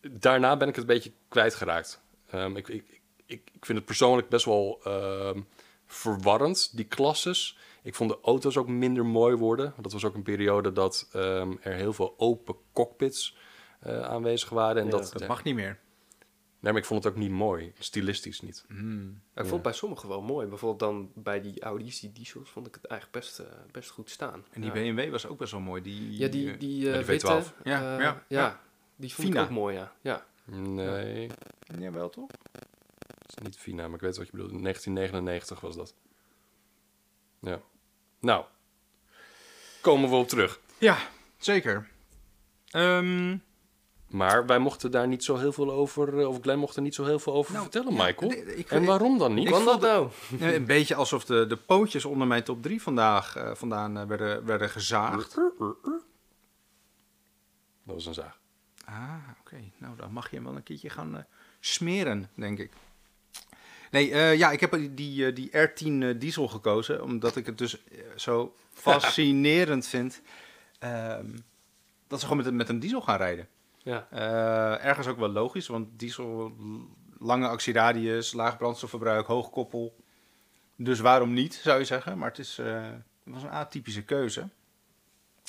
daarna ben ik het een beetje kwijtgeraakt. Ehm ik, ik, ik, ik vind het persoonlijk best wel ehm, verwarrend, die klasses. Ik vond de auto's ook minder mooi worden. Dat was ook een periode dat ehm, er heel veel open cockpits eh, aanwezig waren. En Ja, dat, dat mag niet meer. Nee, maar ik vond het ook niet mooi. Stilistisch niet. Maar ik vond het bij sommigen wel mooi. Bijvoorbeeld dan bij die Audi's, die diesels, vond ik het eigenlijk best, eh, best goed staan. En die ja. BMW was ook best wel mooi. Die, Ja, die, die Ja, eh, die witte, V12. eh, Ja, ja, ja, ja. die vond Fina. ik ook mooi, ja. ja. Mhm. Nee, het eh, Jawel, toch? is niet Fina, maar ik weet wat je bedoelt. 1999 was dat. Ja. Nou, komen we op terug. Ja, zeker. Ehm, Maar wij mochten daar niet zo heel veel over, eh, of Glenn mocht er niet zo heel veel over vertellen, Michael. Nou, nee, ik- en ik- waarom dan niet? Kan dat nou? eh, een beetje alsof de, de pootjes onder mijn top 3 vandaag, eh, vandaan eh, werden, werden gezaagd. Dat was een zaag. Ah, oké. Nou, dan mag je hem wel een keertje gaan eh, smeren, denk ik. Nee, eh, ja, ik heb die, die, eh, die R10 eh, diesel gekozen, omdat ik het dus eh, zo fascinerend vind ehm, dat ze gewoon met, een- met een diesel gaan rijden. Ja. Eh, ergens ook wel logisch, want diesel lange actieradius, laag brandstofverbruik, hoog koppel. Dus waarom niet, zou je zeggen. Maar het, is, eh, het was een atypische keuze.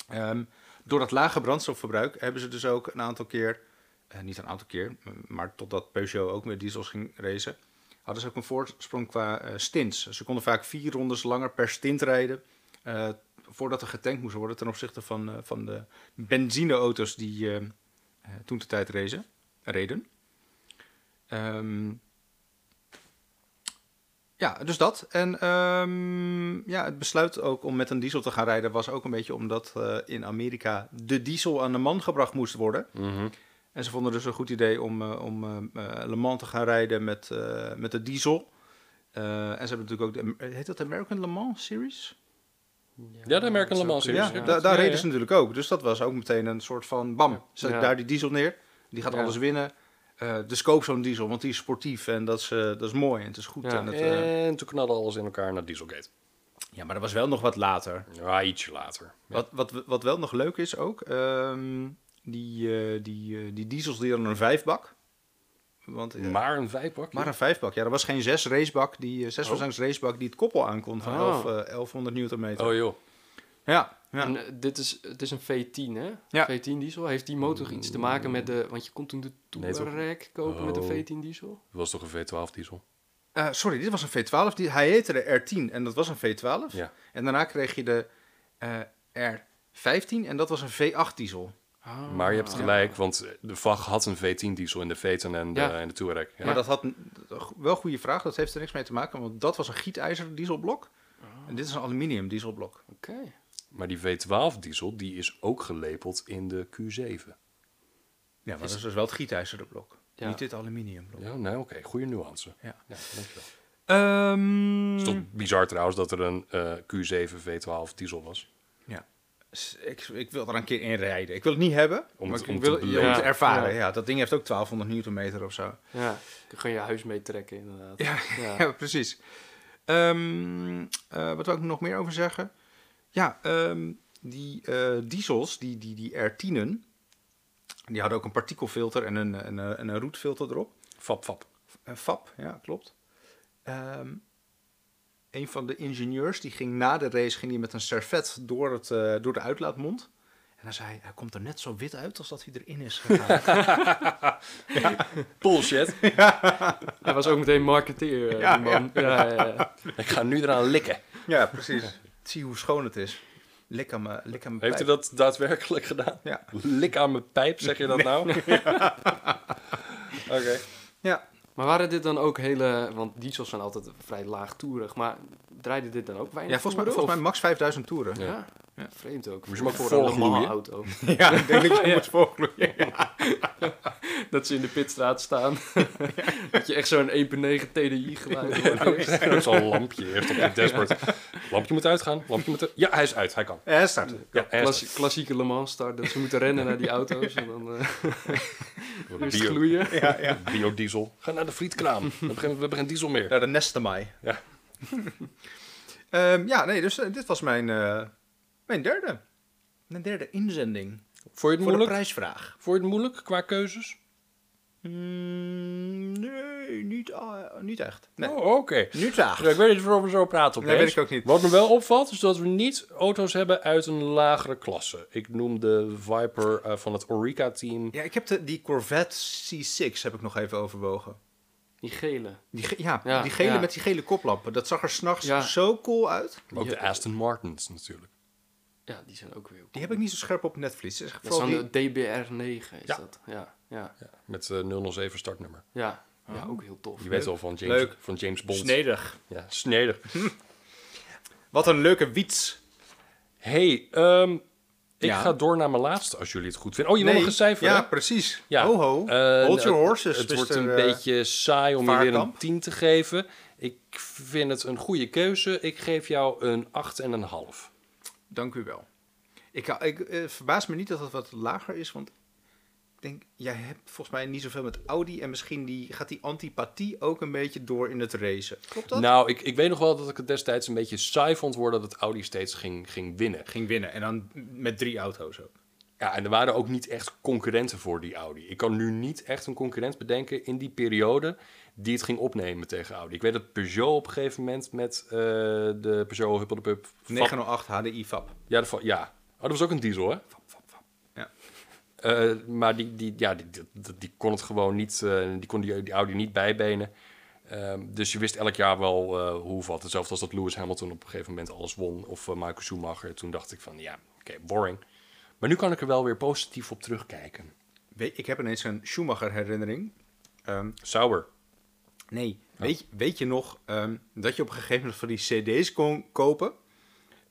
Ehm, door dat lage brandstofverbruik hebben ze dus ook een aantal keer... eh, niet een aantal keer, m- maar totdat Peugeot ook met diesels ging racen... hadden ze ook een voorsprong qua eh, stints. Ze konden vaak vier rondes langer per stint rijden... eh, voordat er getankt moest worden ten opzichte van, eh, van de benzineauto's die eh, eh, toen de tijd racen, reden. Ehm, ja, dus dat. En ehm, ja, het besluit ook om met een diesel te gaan rijden was ook een beetje omdat eh, in Amerika de diesel aan de man gebracht moest worden. Mhm. En ze vonden dus een goed idee om, eh, om eh, eh, Le Mans te gaan rijden met, eh, met de diesel. Eh, en ze hebben natuurlijk ook, de, heet dat de American Le Mans Series? Ja, de American Le Mans Series. Ja, Ja, da- daar ja, reden ja. ze natuurlijk ook. Dus dat was ook meteen een soort van bam. Zet Ja. daar die diesel neer. Die gaat Ja. alles winnen. Eh, dus koop zo'n diesel, want die is sportief en dat is, eh, dat is mooi en het is goed. Ja. En dat, eh, En toen knalde alles in elkaar naar Dieselgate. ja, maar dat was wel nog wat later. Ja, ietsje later. Wat, wat, wat wel nog leuk is ook, ehm, die, eh, die, eh, die diesels die hadden een vijfbak. Want, eh, Maar een vijfpak. maar een vijfbak, ja, er was geen zes racebak, die Oh. eh, zes verslangs racebak die het koppel aankon van Oh. 11, eh, 1100 newtonmeter. Oh joh. Ja, ja. En, eh, dit is, het is een V10, hè? Ja. V10 diesel. Heeft die motor iets te maken met de... Want je kon toen de Nee, toch? Touareg kopen met de Oh. V10 diesel. Het was toch een V12 diesel? Eh, sorry, dit was een V12. Die, hij heette de R10 en dat was een V12. Ja. En daarna kreeg je de eh, R15 en dat was een V8 diesel. Ah, Maar je hebt gelijk, want de VAG had een V10 diesel in de Veten en de, Ja. en de Touareg. Ja. Maar dat had een- wel een goede vraag. Dat heeft er niks mee te maken, want dat was een gietijzer dieselblok. Oh. En dit is een aluminium dieselblok. Oké. Maar die V12 diesel, die is ook gelepeld in de Q7. Ja, maar dat is dus wel het gietijzeren blok. Ja. Niet dit aluminiumblok. Ja, nee, oké. Goede nuance. Ja. dankjewel. Ehm, Het is toch bizar trouwens dat er een eh, Q7 V12 diesel was. ja. S- Ik, ik wil er een keer in rijden. Ik wil het niet hebben, Om maar het- ik om wil te om beleven. te ervaren. Ja. Ja. dat ding heeft ook 1200 newtonmeter of zo. Ja. Je kan je huis mee trekken, inderdaad. Ja, ja. precies. Ehm, eh, wat wil ik nog meer over zeggen? Ja, ehm, die eh, diesels, die, die, die R10'en, die hadden ook een partikelfilter en een, een, een, een roetfilter erop. Fap, fap. Een FAP, ja, klopt. Ehm, een van de ingenieurs, die ging na de race ging die met een servet door, het, eh, door de uitlaatmond. En hij zei, hij komt er net zo wit uit als dat hij erin is gegaan. Bullshit. Hij was ook meteen marketeer, eh, Ja, die man. Ja, ja, ja. Ik ga nu eraan likken. ja, precies. Zie hoe schoon het is. Lik aan mijn lik aan mijn Heeft u pijp. dat daadwerkelijk gedaan? Ja. Lik aan mijn pijp, zeg je dat nou? Oké. Ja, Maar waren dit dan ook hele... Want diesels zijn altijd vrij laagtoerig. Maar draaide dit dan ook weinig Ja, volgens mij, toeren, volgens mij max 5000 toeren. mij- Ja. vreemd ook. Moest je hem ook voor een volgloeien? normale auto. Ja, ik denk dat je moet volgloeien. Dat ze in de pitstraat staan. dat je echt zo'n 1.9 TDI geluid hoort. eerst. Er is al een lampje eerst op je dashboard. Lampje moet uitgaan. Lampje moet er- Ja, hij is uit. Hij kan. Ja, start. Ja, hij is Klassie- klassieke Le Mans start. Dat ze moeten rennen naar die auto's. En dan eh uit. eerst Bio, gloeien. biodiesel. Ga naar de frietkraam. We hebben geen, we hebben geen diesel meer. Naar de Nestemai. Ja. Ehm, ja, nee, dus eh, dit was mijn, eh, mijn derde. Mijn derde inzending. Vond je het Voor de moeilijk? prijsvraag. Vond je het moeilijk qua keuzes? Mm, nee, niet, eh, niet echt. Nee, Oh, oké. niet echt. Ja, ik weet niet waarom we zo praten opeens. Nee, weet ik ook niet. Wat me wel opvalt, is dat we niet auto's hebben uit een lagere klasse. Ik noem de Viper eh, van het Orica-team. Ja, ik heb de, die Corvette C6 heb ik nog even overwogen. Die gele. Die ge- ja, Ja, die gele ja. met die gele koplappen. Dat zag er s'nachts Ja. zo cool uit. Maar ook de Aston Martins natuurlijk. Ja, die zijn ook weer... Die heb ik niet zo scherp op Netflix. Dat is Dat is vooral dan die- de DBR9 is Ja. dat. Ja, ja, ja. Met eh 007 startnummer. ja. ook heel tof. Je weet wel van James, Leuk. Van James Bond. Snedig. Mhm. Ja, snedig. Wat een leuke wiets. hey, ehm, ik Ja. ga door naar mijn laatste, als jullie het goed vinden. Oh, je wil nog een cijfer, Ja, hè? precies. Ja. Ho, ho. Eh, Hold your het- horses. Het Mr., wordt een eh, beetje saai om je weer een Vaarkamp. 10 te geven. Ik vind het een goede keuze. Ik geef jou een 8,5. Dank u wel. Ik, hou- ik eh, verbaas me niet dat het wat lager is, want ik denk, jij hebt volgens mij niet zoveel met Audi en misschien die, gaat die antipathie ook een beetje door in het racen. Klopt dat? Nou, ik, ik weet nog wel dat ik het destijds een beetje saai vond worden dat Audi steeds ging, ging winnen. Ging winnen en dan met drie auto's ook. Ja, en er waren ook niet echt concurrenten voor die Audi. Ik kan nu niet echt een concurrent bedenken in die periode die het ging opnemen tegen Audi. Ik weet dat Peugeot op een gegeven moment met eh, de Peugeot Huppeldepup... 908 HDI FAP. Ja, de va- ja. Oh, dat was ook een diesel, hè? Ja. Eh, maar die, die, ja, die, die, die- die kon het gewoon niet, eh, die kon die, die Audi niet bijbenen. Ehm, dus je wist elk jaar wel eh, hoe of wat. Hetzelfde als dat Lewis Hamilton op een gegeven moment alles won. Of eh, Michael Schumacher. Toen dacht ik van, ja, oké, boring. Maar nu kan ik er wel weer positief op terugkijken. Weet, ik heb ineens een Schumacher-herinnering. Ehm, Sauber. nee, weet, je- weet je nog ehm, dat je op een gegeven moment van die cd's kon kopen?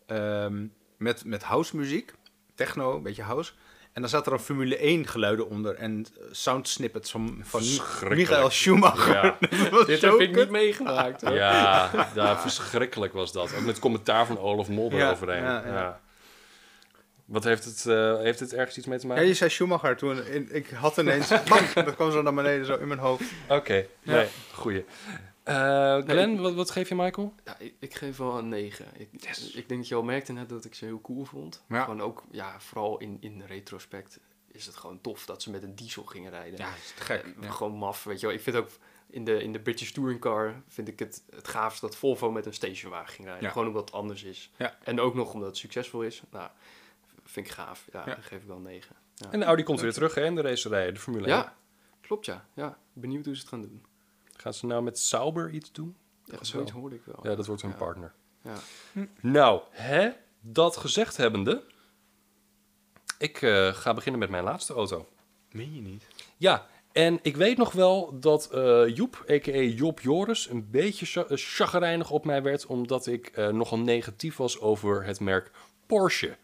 Ehm, met, met house muziek, techno, een beetje house. En dan zat er een Formule 1 geluiden onder en eh, sound snippets van, van Verschrikkelijk. Michael Schumacher. Ja, Dat was Dit zo heb ik kut. niet meegemaakt. hoor. ja daar, verschrikkelijk was dat. Ook met commentaar van Olaf Mol Ja, eroverheen. ja, Ja, ja. Wat heeft het, eh, heeft het ergens iets mee te Ja, maken? je zei Schumacher toen. en ik had ineens... bang, dat kwam zo naar beneden, zo in mijn hoofd. Oké, nee, goeie. Eh, Glenn, wat, wat geef je Michael? Ja, ik, ik geef wel een 9. Ik, ik denk dat je al merkte net dat ik ze heel cool vond. Ja. Gewoon ook, ja, vooral in, in retrospect is het gewoon tof dat ze met een diesel gingen rijden. is te gek. Eh, Gewoon maf, weet je wel. Ik vind ook in de, in de British Touring Car vind ik het het gaafst dat Volvo met een stationwagen ging rijden. Ja. Gewoon omdat het anders is. Ja. En ook nog omdat het succesvol is. Nou, vind ik gaaf. Ja, Ja. dan geef ik wel een 9. En de Audi komt weer terug hè, in de racerij, de Formule 1. Ja, klopt ja. ja. Benieuwd hoe ze het gaan doen. Gaan ze nou met Sauber iets doen? Ja, zoiets hoorde ik wel. Ja, dat wordt hun Ja. partner. Ja. Nou, hè? Dat gezegd hebbende, ik eh, ga beginnen met mijn laatste auto. Meen je niet? Ja, en ik weet nog wel dat eh, Joep, a.k.a. Job Joris, een beetje cha- eh, chagrijnig op mij werd... omdat ik eh, nogal negatief was over het merk Porsche.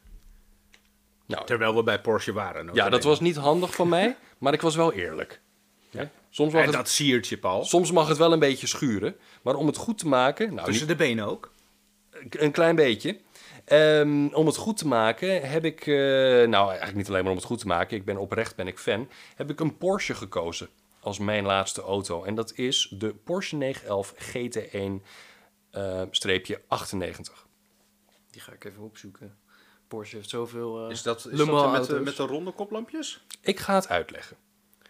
Nou, Terwijl we bij Porsche waren. ja, dat was niet handig van mij, maar ik was wel eerlijk. Hè? Soms, mag En het, dat siertje, Paul. soms mag het wel een beetje schuren, maar om het goed te maken... Nou, Tussen de benen ook. K- Een klein beetje. Ehm, om het goed te maken heb ik, eh, nou eigenlijk niet alleen maar om het goed te maken, ik ben oprecht, ben ik fan, heb ik een Porsche gekozen als mijn laatste auto. En dat is de Porsche 911 GT1-98. eh, Die ga ik even opzoeken. Porsche heeft zoveel eh Is dat, Le is dat Mans met, de, auto's. met de ronde koplampjes? ik ga het uitleggen.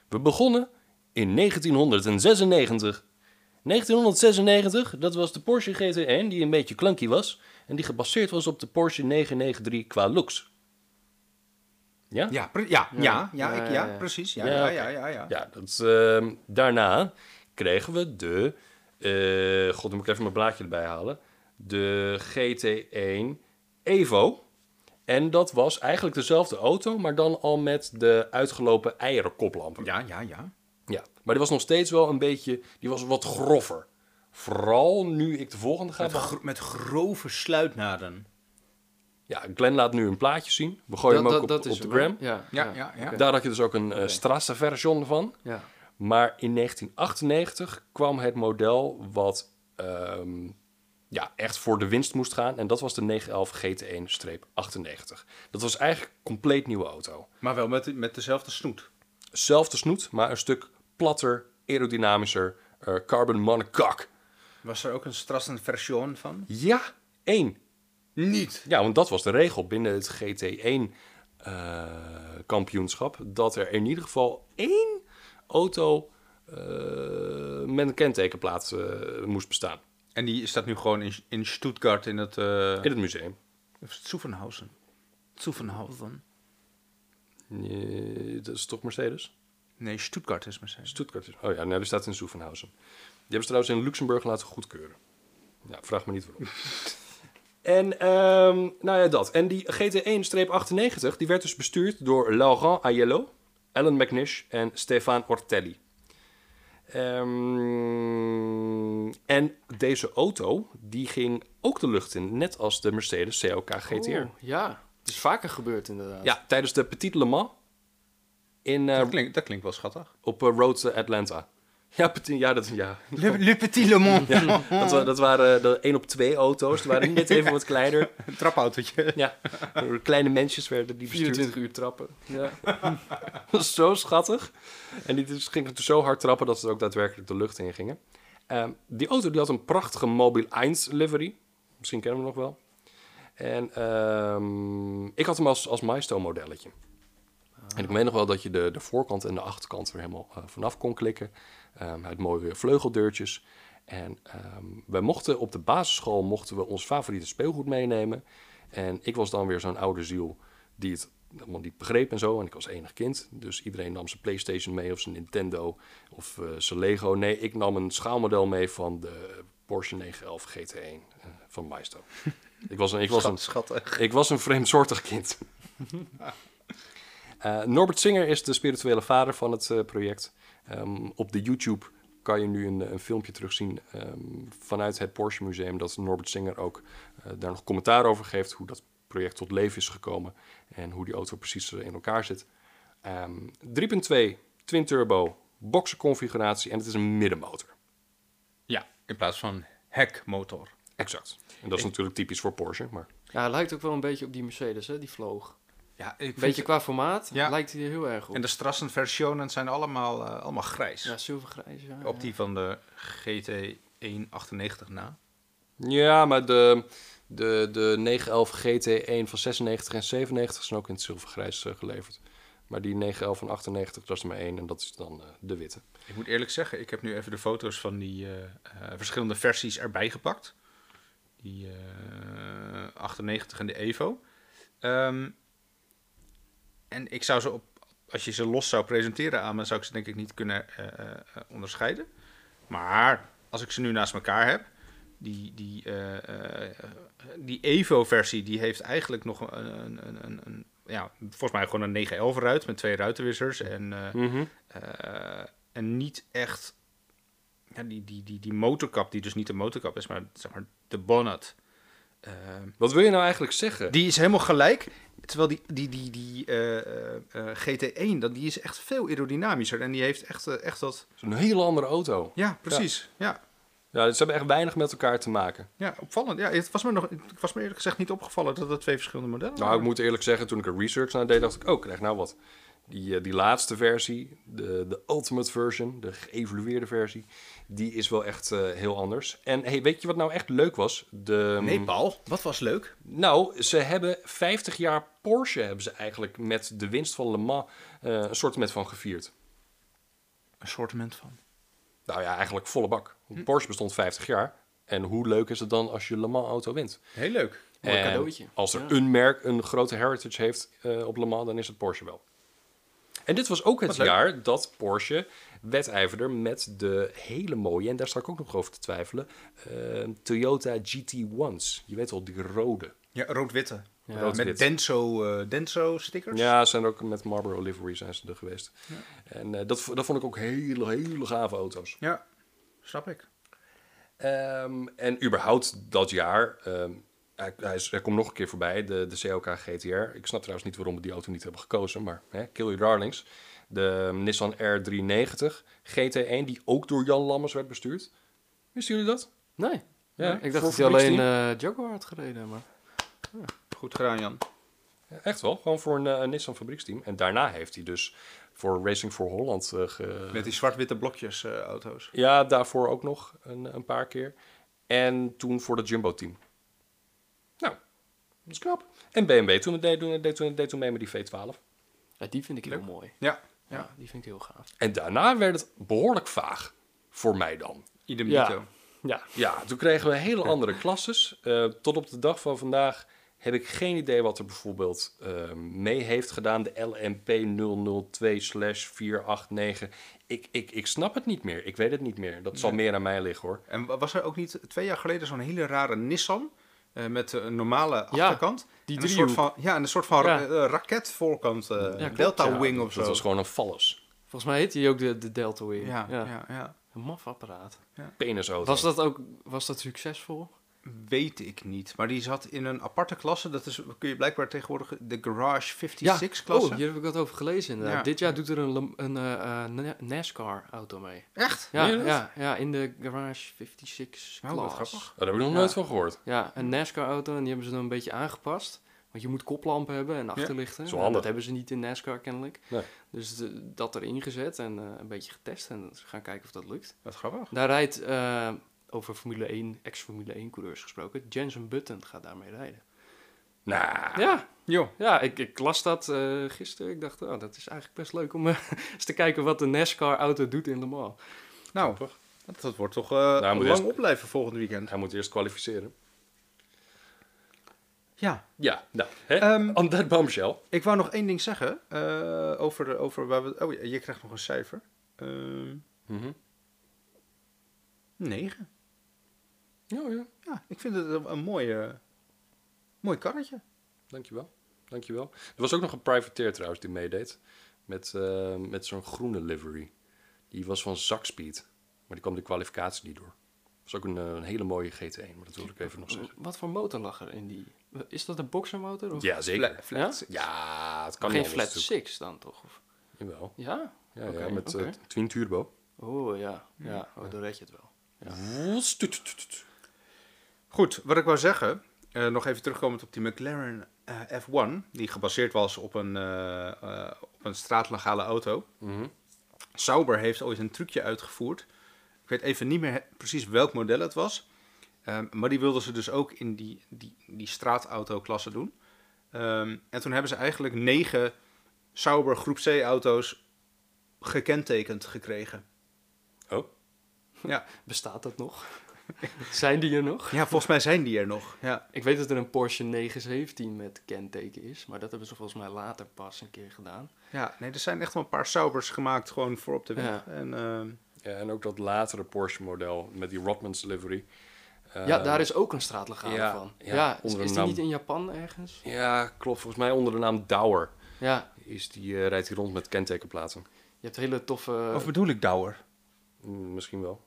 We begonnen in 1996. 1996, dat was de Porsche GT1 die een beetje clunky was en die gebaseerd was op de Porsche 993 qua looks. Ja? Ja, pre- ja, ja, ja, Ja, ik, ja, ja, ja. precies. Ja, ja, oké. ja, ja, ja. Ja, dat, ehm, daarna kregen we de. eh, God, dan moet ik even mijn blaadje erbij halen. De GT1 Evo. En dat was eigenlijk dezelfde auto, maar dan al met de uitgelopen eierenkoplampen. Ja, ja, ja. Ja, maar die was nog steeds wel een beetje. Die was wat grover. Vooral nu ik de volgende ga. Met, gro- met grove sluitnaden. Ja, Glenn laat nu een plaatje zien. We gooien hem ook op, op de hem, hè? gram. Ja, Ja, ja, ja. Daar had je dus ook een eh Strasse-version van. ja. Maar in 1998 kwam het model wat ehm, ja, echt voor de winst moest gaan. En dat was de 911 GT1-98. Dat was eigenlijk een compleet nieuwe auto. Maar wel met, met dezelfde snoet. Zelfde snoet, maar een stuk platter, aerodynamischer. eh, carbon monocoque. Was er ook een Strassen-version van? Ja, één. Niet. Ja, want dat was de regel binnen het GT1-kampioenschap. eh, dat er in ieder geval één auto eh, met een kentekenplaat eh, moest bestaan. En die staat nu gewoon in, in Stuttgart in het... eh In het museum. of is het Zuffenhausen? Zuffenhausen? Nee, Eh, dat is toch Mercedes? Nee, Stuttgart is Mercedes. Stuttgart. is- Oh ja, nou, die staat in Soevenhausen. Die hebben ze trouwens in Luxemburg laten goedkeuren. Ja, vraag me niet waarom. en, ehm, nou ja, dat. En die GT1-98, die werd dus bestuurd door Laurent Aiello, Alan McNish en Stefan Ortelli. Ehm, en deze auto, die ging ook de lucht in, net als de Mercedes CLK GTR. Oh, ja, het is vaker gebeurd inderdaad. Ja, tijdens de Petit Le Mans in, eh, Dat klinkt, dat klinkt wel schattig. op eh, Road to Atlanta. Ja, Petit, ja, dat, ja. Le, Petit Le Mans. Dat, wa- dat waren eh, de 1 op 2 auto's. Die waren net even wat kleiner. Een trapautootje. Ja, door kleine mensjes werden die bestuurd. 24 uur trappen. Ja. Dat was zo schattig. En die dus gingen toen zo hard trappen dat ze ook daadwerkelijk de lucht in gingen. Ehm, die auto die had een prachtige Mobil 1 livery. Misschien kennen we hem nog wel. En ehm, ik had hem als, als milestone modelletje. En ik meen nog wel dat je de, de voorkant en de achterkant er helemaal eh, vanaf kon klikken. Ehm hij had mooie vleugeldeurtjes. En ehm wij mochten op de basisschool mochten we ons favoriete speelgoed meenemen. En ik was dan weer zo'n oude ziel die het helemaal niet begreep en zo. En ik was enig kind. Dus iedereen nam zijn PlayStation mee of zijn Nintendo of eh, zijn Lego. Nee, ik nam een schaalmodel mee van de Porsche 911 GT1 eh, van Maisto. ik was een, ik was een, ik was een vreemdsoortig kind. Eh, Norbert Singer is de spirituele vader van het eh, project. Ehm, op de YouTube kan je nu een, een filmpje terugzien ehm, vanuit het Porsche Museum. Dat Norbert Singer ook eh, daar nog commentaar over geeft. Hoe dat project tot leven is gekomen. En hoe die auto precies eh, in elkaar zit. Ehm, 3.2 twin turbo boxerconfiguratie. En het is een middenmotor. Ja, in plaats van hekmotor. Exact. En dat is natuurlijk typisch voor Porsche. Maar Ja, hij lijkt ook wel een beetje op die Mercedes, hè? Die vloog. Ja, ik vind Beetje qua formaat Ja. lijkt hij er heel erg op. En de Strassenversionen zijn allemaal, eh, allemaal grijs. Ja, zilvergrijs, ja. Op die van de GT198 na. Ja, maar de, de, de 911 GT1 van 96 en 97 zijn ook in het zilvergrijs eh, geleverd. Maar die 911 van 98, dat is er maar één en dat is dan eh, de witte. Ik moet eerlijk zeggen, ik heb nu even de foto's van die eh, eh, verschillende versies erbij gepakt. Die eh, 98 en de Evo. Ehm, en ik zou ze op, als je ze los zou presenteren aan me, zou ik ze denk ik niet kunnen eh, eh, eh, onderscheiden. Maar als ik ze nu naast elkaar heb, die, die, eh, eh, eh, die Evo-versie, die heeft eigenlijk nog een, een, een, een, een- ja, volgens mij gewoon een 911 ruit met twee ruitenwissers en eh, eh, en niet echt. Ja, die, die, die, die motorkap, die dus niet de motorkap is, maar zeg maar de bonnet. Eh, Wat wil je nou eigenlijk zeggen? die is helemaal gelijk. Terwijl die, die, die, die eh, eh, eh, GT1, dat, die is echt veel aerodynamischer. En die heeft echt, eh, echt dat. Dat is een hele andere auto. Ja, precies. Ja. Ja. Ja, ze hebben echt weinig met elkaar te maken. opvallend. Ja, het was me, nog, het was me eerlijk gezegd niet opgevallen dat dat twee verschillende modellen Nou, ik moet eerlijk zeggen, toen ik er research naar deed, dacht ik, oh, krijg nou wat. Die, eh, die laatste versie, de, de ultimate version, de geëvolueerde versie, die is wel echt eh, heel anders. En hey, weet je wat nou echt leuk was? De, Oh, Nee, Paul, wat was leuk? Nou, ze hebben 50 jaar Porsche hebben ze eigenlijk met de winst van Le Mans eh, een soort met van gevierd. Een sortiment van. Nou ja, eigenlijk volle bak. Hm. Want Porsche bestond 50 jaar. En hoe leuk is het dan als je Le Mans auto wint? Heel leuk. Mooi En cadeautje. Als er een merk een grote heritage heeft eh, op Le Mans, dan is het Porsche wel. En dit was ook het leuk. jaar dat Porsche wedijverde met de hele mooie, en daar sta ik ook nog over te twijfelen, eh, Toyota GT1's. Je weet wel, die rode. Ja, rood-witte. Eh, Ja. met Rood-wit. Denso, eh, Denso stickers. Ja, ze zijn er ook met Marlboro livery zijn ze er geweest. En eh, dat, v- dat vond ik ook hele, hele gave auto's. Ja, snap ik. Ehm, en überhaupt dat jaar, ehm, hij, hij, is- hij komt nog een keer voorbij, de, de CLK GTR. Ik snap trouwens niet waarom we die auto niet hebben gekozen, maar hè, kill your darlings. De ehm, Nissan R390 GT1, die ook door Jan Lammers werd bestuurd. Wisten jullie dat? Nee. Ja, ik voor dacht dat hij fabrieksteam. alleen eh, Jaguar had gereden, maar... Goed gedaan, Jan. Ja, echt wel, gewoon voor een, eh, een Nissan fabrieksteam. En daarna heeft hij dus voor Racing for Holland eh, ge, Met die zwart-witte blokjes eh, auto's. Ja, daarvoor ook nog een, een paar keer. En toen voor het Jumbo-team. Nou, dat is knap. En BMW toen het deed, toen, het deed, toen, het deed toen mee met die V12. Ja, die vind ik heel mooi. Ja. Ja, die vind ik heel gaaf. En daarna werd het behoorlijk vaag. Voor mij dan. Idem Ja. Ja. Ja, toen kregen we hele andere klasses. Eh, tot op de dag van vandaag heb ik geen idee wat er bijvoorbeeld eh, mee heeft gedaan. De LMP 002-489. Ik, ik, ik snap het niet meer. Ik weet het niet meer. Dat zal meer aan mij liggen hoor. En wa- was er ook niet twee jaar geleden zo'n hele rare Nissan eh, met eh, een normale achterkant? die en een soort driehoek. van, Ja, en een soort van ra- Ja. eh, raketvoorkant. eh, klopt, Delta ja. Wing of zo. Dat was gewoon een vallus. Volgens mij heet hij ook de, de Delta Wing. ja, ja. Ja, Een maf apparaat. Penisauto. Was dat ook was dat succesvol? Weet ik niet. Maar die zat in een aparte klasse. Dat is, kun je blijkbaar tegenwoordig de Garage 56-klasse. Oh, hier heb ik wat over gelezen inderdaad. Ja. Dit jaar doet er een, Lam- een eh, eh, Na- NASCAR-auto mee. Echt? Ja, Meen je dat? ja, ja, in de Garage 56 Oh, wat klas. grappig. Oh, daar heb ik nog Ja. nooit van gehoord. Ja, een NASCAR-auto en die hebben ze dan een beetje aangepast. Want je moet koplampen hebben en achterlichten. is wel Nou, handig. dat hebben ze niet in NASCAR kennelijk. Nee. Dus de- dat erin gezet en eh, een beetje getest en ze gaan kijken of dat lukt. Wat grappig. Daar rijdt, eh, over Formule 1, ex-Formule 1-coureurs gesproken, Jensen Button gaat daarmee rijden. Nou, Ja, Joh. ja ik, ik las dat eh, gisteren. Ik dacht, oh, dat is eigenlijk best leuk om eh, eens te kijken wat de NASCAR-auto doet in Le Mans. Nou, dat, dat wordt toch eh Nou, moet lang eerst- opblijven volgend weekend. hij moet eerst kwalificeren. Ja, Ja, nou, hè? Ehm, On that bombshell. ik wou nog één ding zeggen eh, over, over waar we... Oh, ja, je krijgt nog een cijfer. Ehm Mhm. negen. Ja, ja. Ja, ik vind het een, een mooi, eh, mooi karretje. Dankjewel. Dankjewel. Er was ook nog een privateer trouwens die meedeed. Met, eh, met zo'n groene livery. Die was van Zakspeed. Maar die kwam de kwalificatie niet door. Dat was ook een, eh, een hele mooie GT1. Maar dat wilde ik even nog zeggen. Wat voor motor lag er in die... Is dat een boxermotor? Of? Ja, zeker. Fla- flat. Ja, het kan Geen niet anders flat six dan toch? Of? natuurlijk. Jawel. Ja? Ja, ja, Oké, met oké. eh, twin turbo. Oh ja, ja. Oh, dan red je het wel. Woes, tut, tut, tut. Goed, wat ik wou zeggen, eh, nog even terugkomend op die McLaren eh, F1, die gebaseerd was op een, eh, eh, op een straatlegale auto. Mhm. Sauber heeft ooit een trucje uitgevoerd. Ik weet even niet meer he- precies welk model het was. Ehm, maar die wilden ze dus ook in die, die, die straatauto-klasse doen. Ehm, en toen hebben ze eigenlijk negen Sauber Groep C-auto's gekentekend gekregen. Oh, Ja, Bestaat dat nog? Zijn die er nog? ja volgens mij zijn die er nog. Ja. Ik weet dat er een Porsche 917 met kenteken is, maar dat hebben ze volgens mij later pas een keer gedaan. Ja, nee, er zijn echt wel een paar Saubers gemaakt gewoon voor op de weg. Ja. En, ehm, ja, en ook dat latere Porsche model met die Rodman's livery. ja, Eh, daar is ook een straatlegale ja, van. ja, Ja, is, onder is een die naam. niet in Japan ergens? Ja, klopt. Volgens mij onder de naam Douwer Ja, is die, eh, rijdt hij rond met kentekenplaten. je hebt hele toffe... Of bedoel ik Douwer? Mm, misschien wel.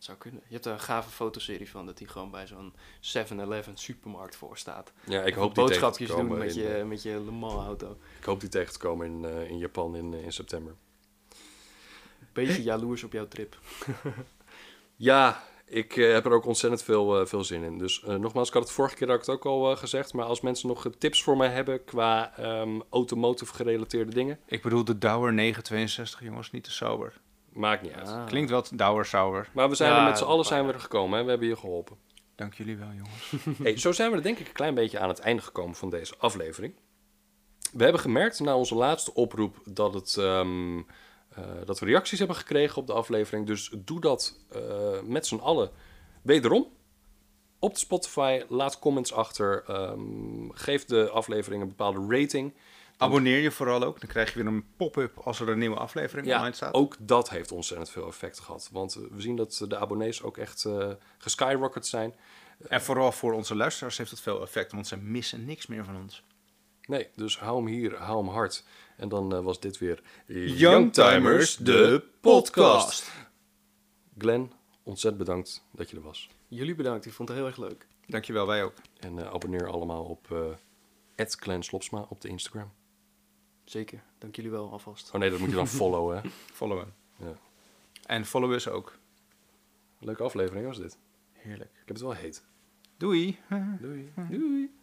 zou kunnen. Je hebt daar een gave fotoserie van dat hij gewoon bij zo'n 7-Eleven supermarkt voor staat. Ja, ik Even hoop, die tegen te boodschapjes doen komen met in, je, eh, met je Le Mans auto. ik hoop die tegen te komen in, eh, in Japan in, eh, in september. Beetje jaloers op jouw trip. Ja, ik eh, heb er ook ontzettend veel, eh, veel zin in. Dus eh, nogmaals, ik had het vorige keer had ik het ook al eh, gezegd. Maar als mensen nog eh, tips voor mij hebben qua ehm, automotive gerelateerde dingen, Ik bedoel de Douwer 962, jongens, niet de Sauber. maakt niet uit. Ah. Klinkt wel Douwer Sauber. Maar we zijn Ja, er met z'n dat allen maakt zijn we er gekomen. Hè? We hebben je geholpen. Dank jullie wel, jongens. Hey, zo zijn we er denk ik een klein beetje aan het einde gekomen van deze aflevering. We hebben gemerkt na onze laatste oproep dat, het, ehm, eh, dat we reacties hebben gekregen op de aflevering. Dus doe dat eh, met z'n allen wederom. Op de Spotify, laat comments achter. ehm, geef de aflevering een bepaalde rating. Abonneer je vooral ook, dan krijg je weer een pop-up als er een nieuwe aflevering online staat. ook dat heeft ontzettend veel effect gehad. Want eh, we zien dat de abonnees ook echt eh geskyrocket zijn. En vooral voor onze luisteraars heeft het veel effect, want ze missen niks meer van ons. Nee, dus hou hem hier, hou hem hard. En dan eh, was dit weer Youngtimers, de podcast. Glenn, ontzettend bedankt dat je er was. Jullie bedankt, ik vond het heel erg leuk. Dankjewel, wij ook. En eh, abonneer allemaal op eh Glenn Slopsma op de Instagram. Zeker, dank jullie wel alvast. Oh nee, dat moet je dan followen. Hè? Followen. Ja. En follow us ook. Leuke aflevering was dit. Heerlijk. Ik heb het wel heet. Doei. Doei. Doei.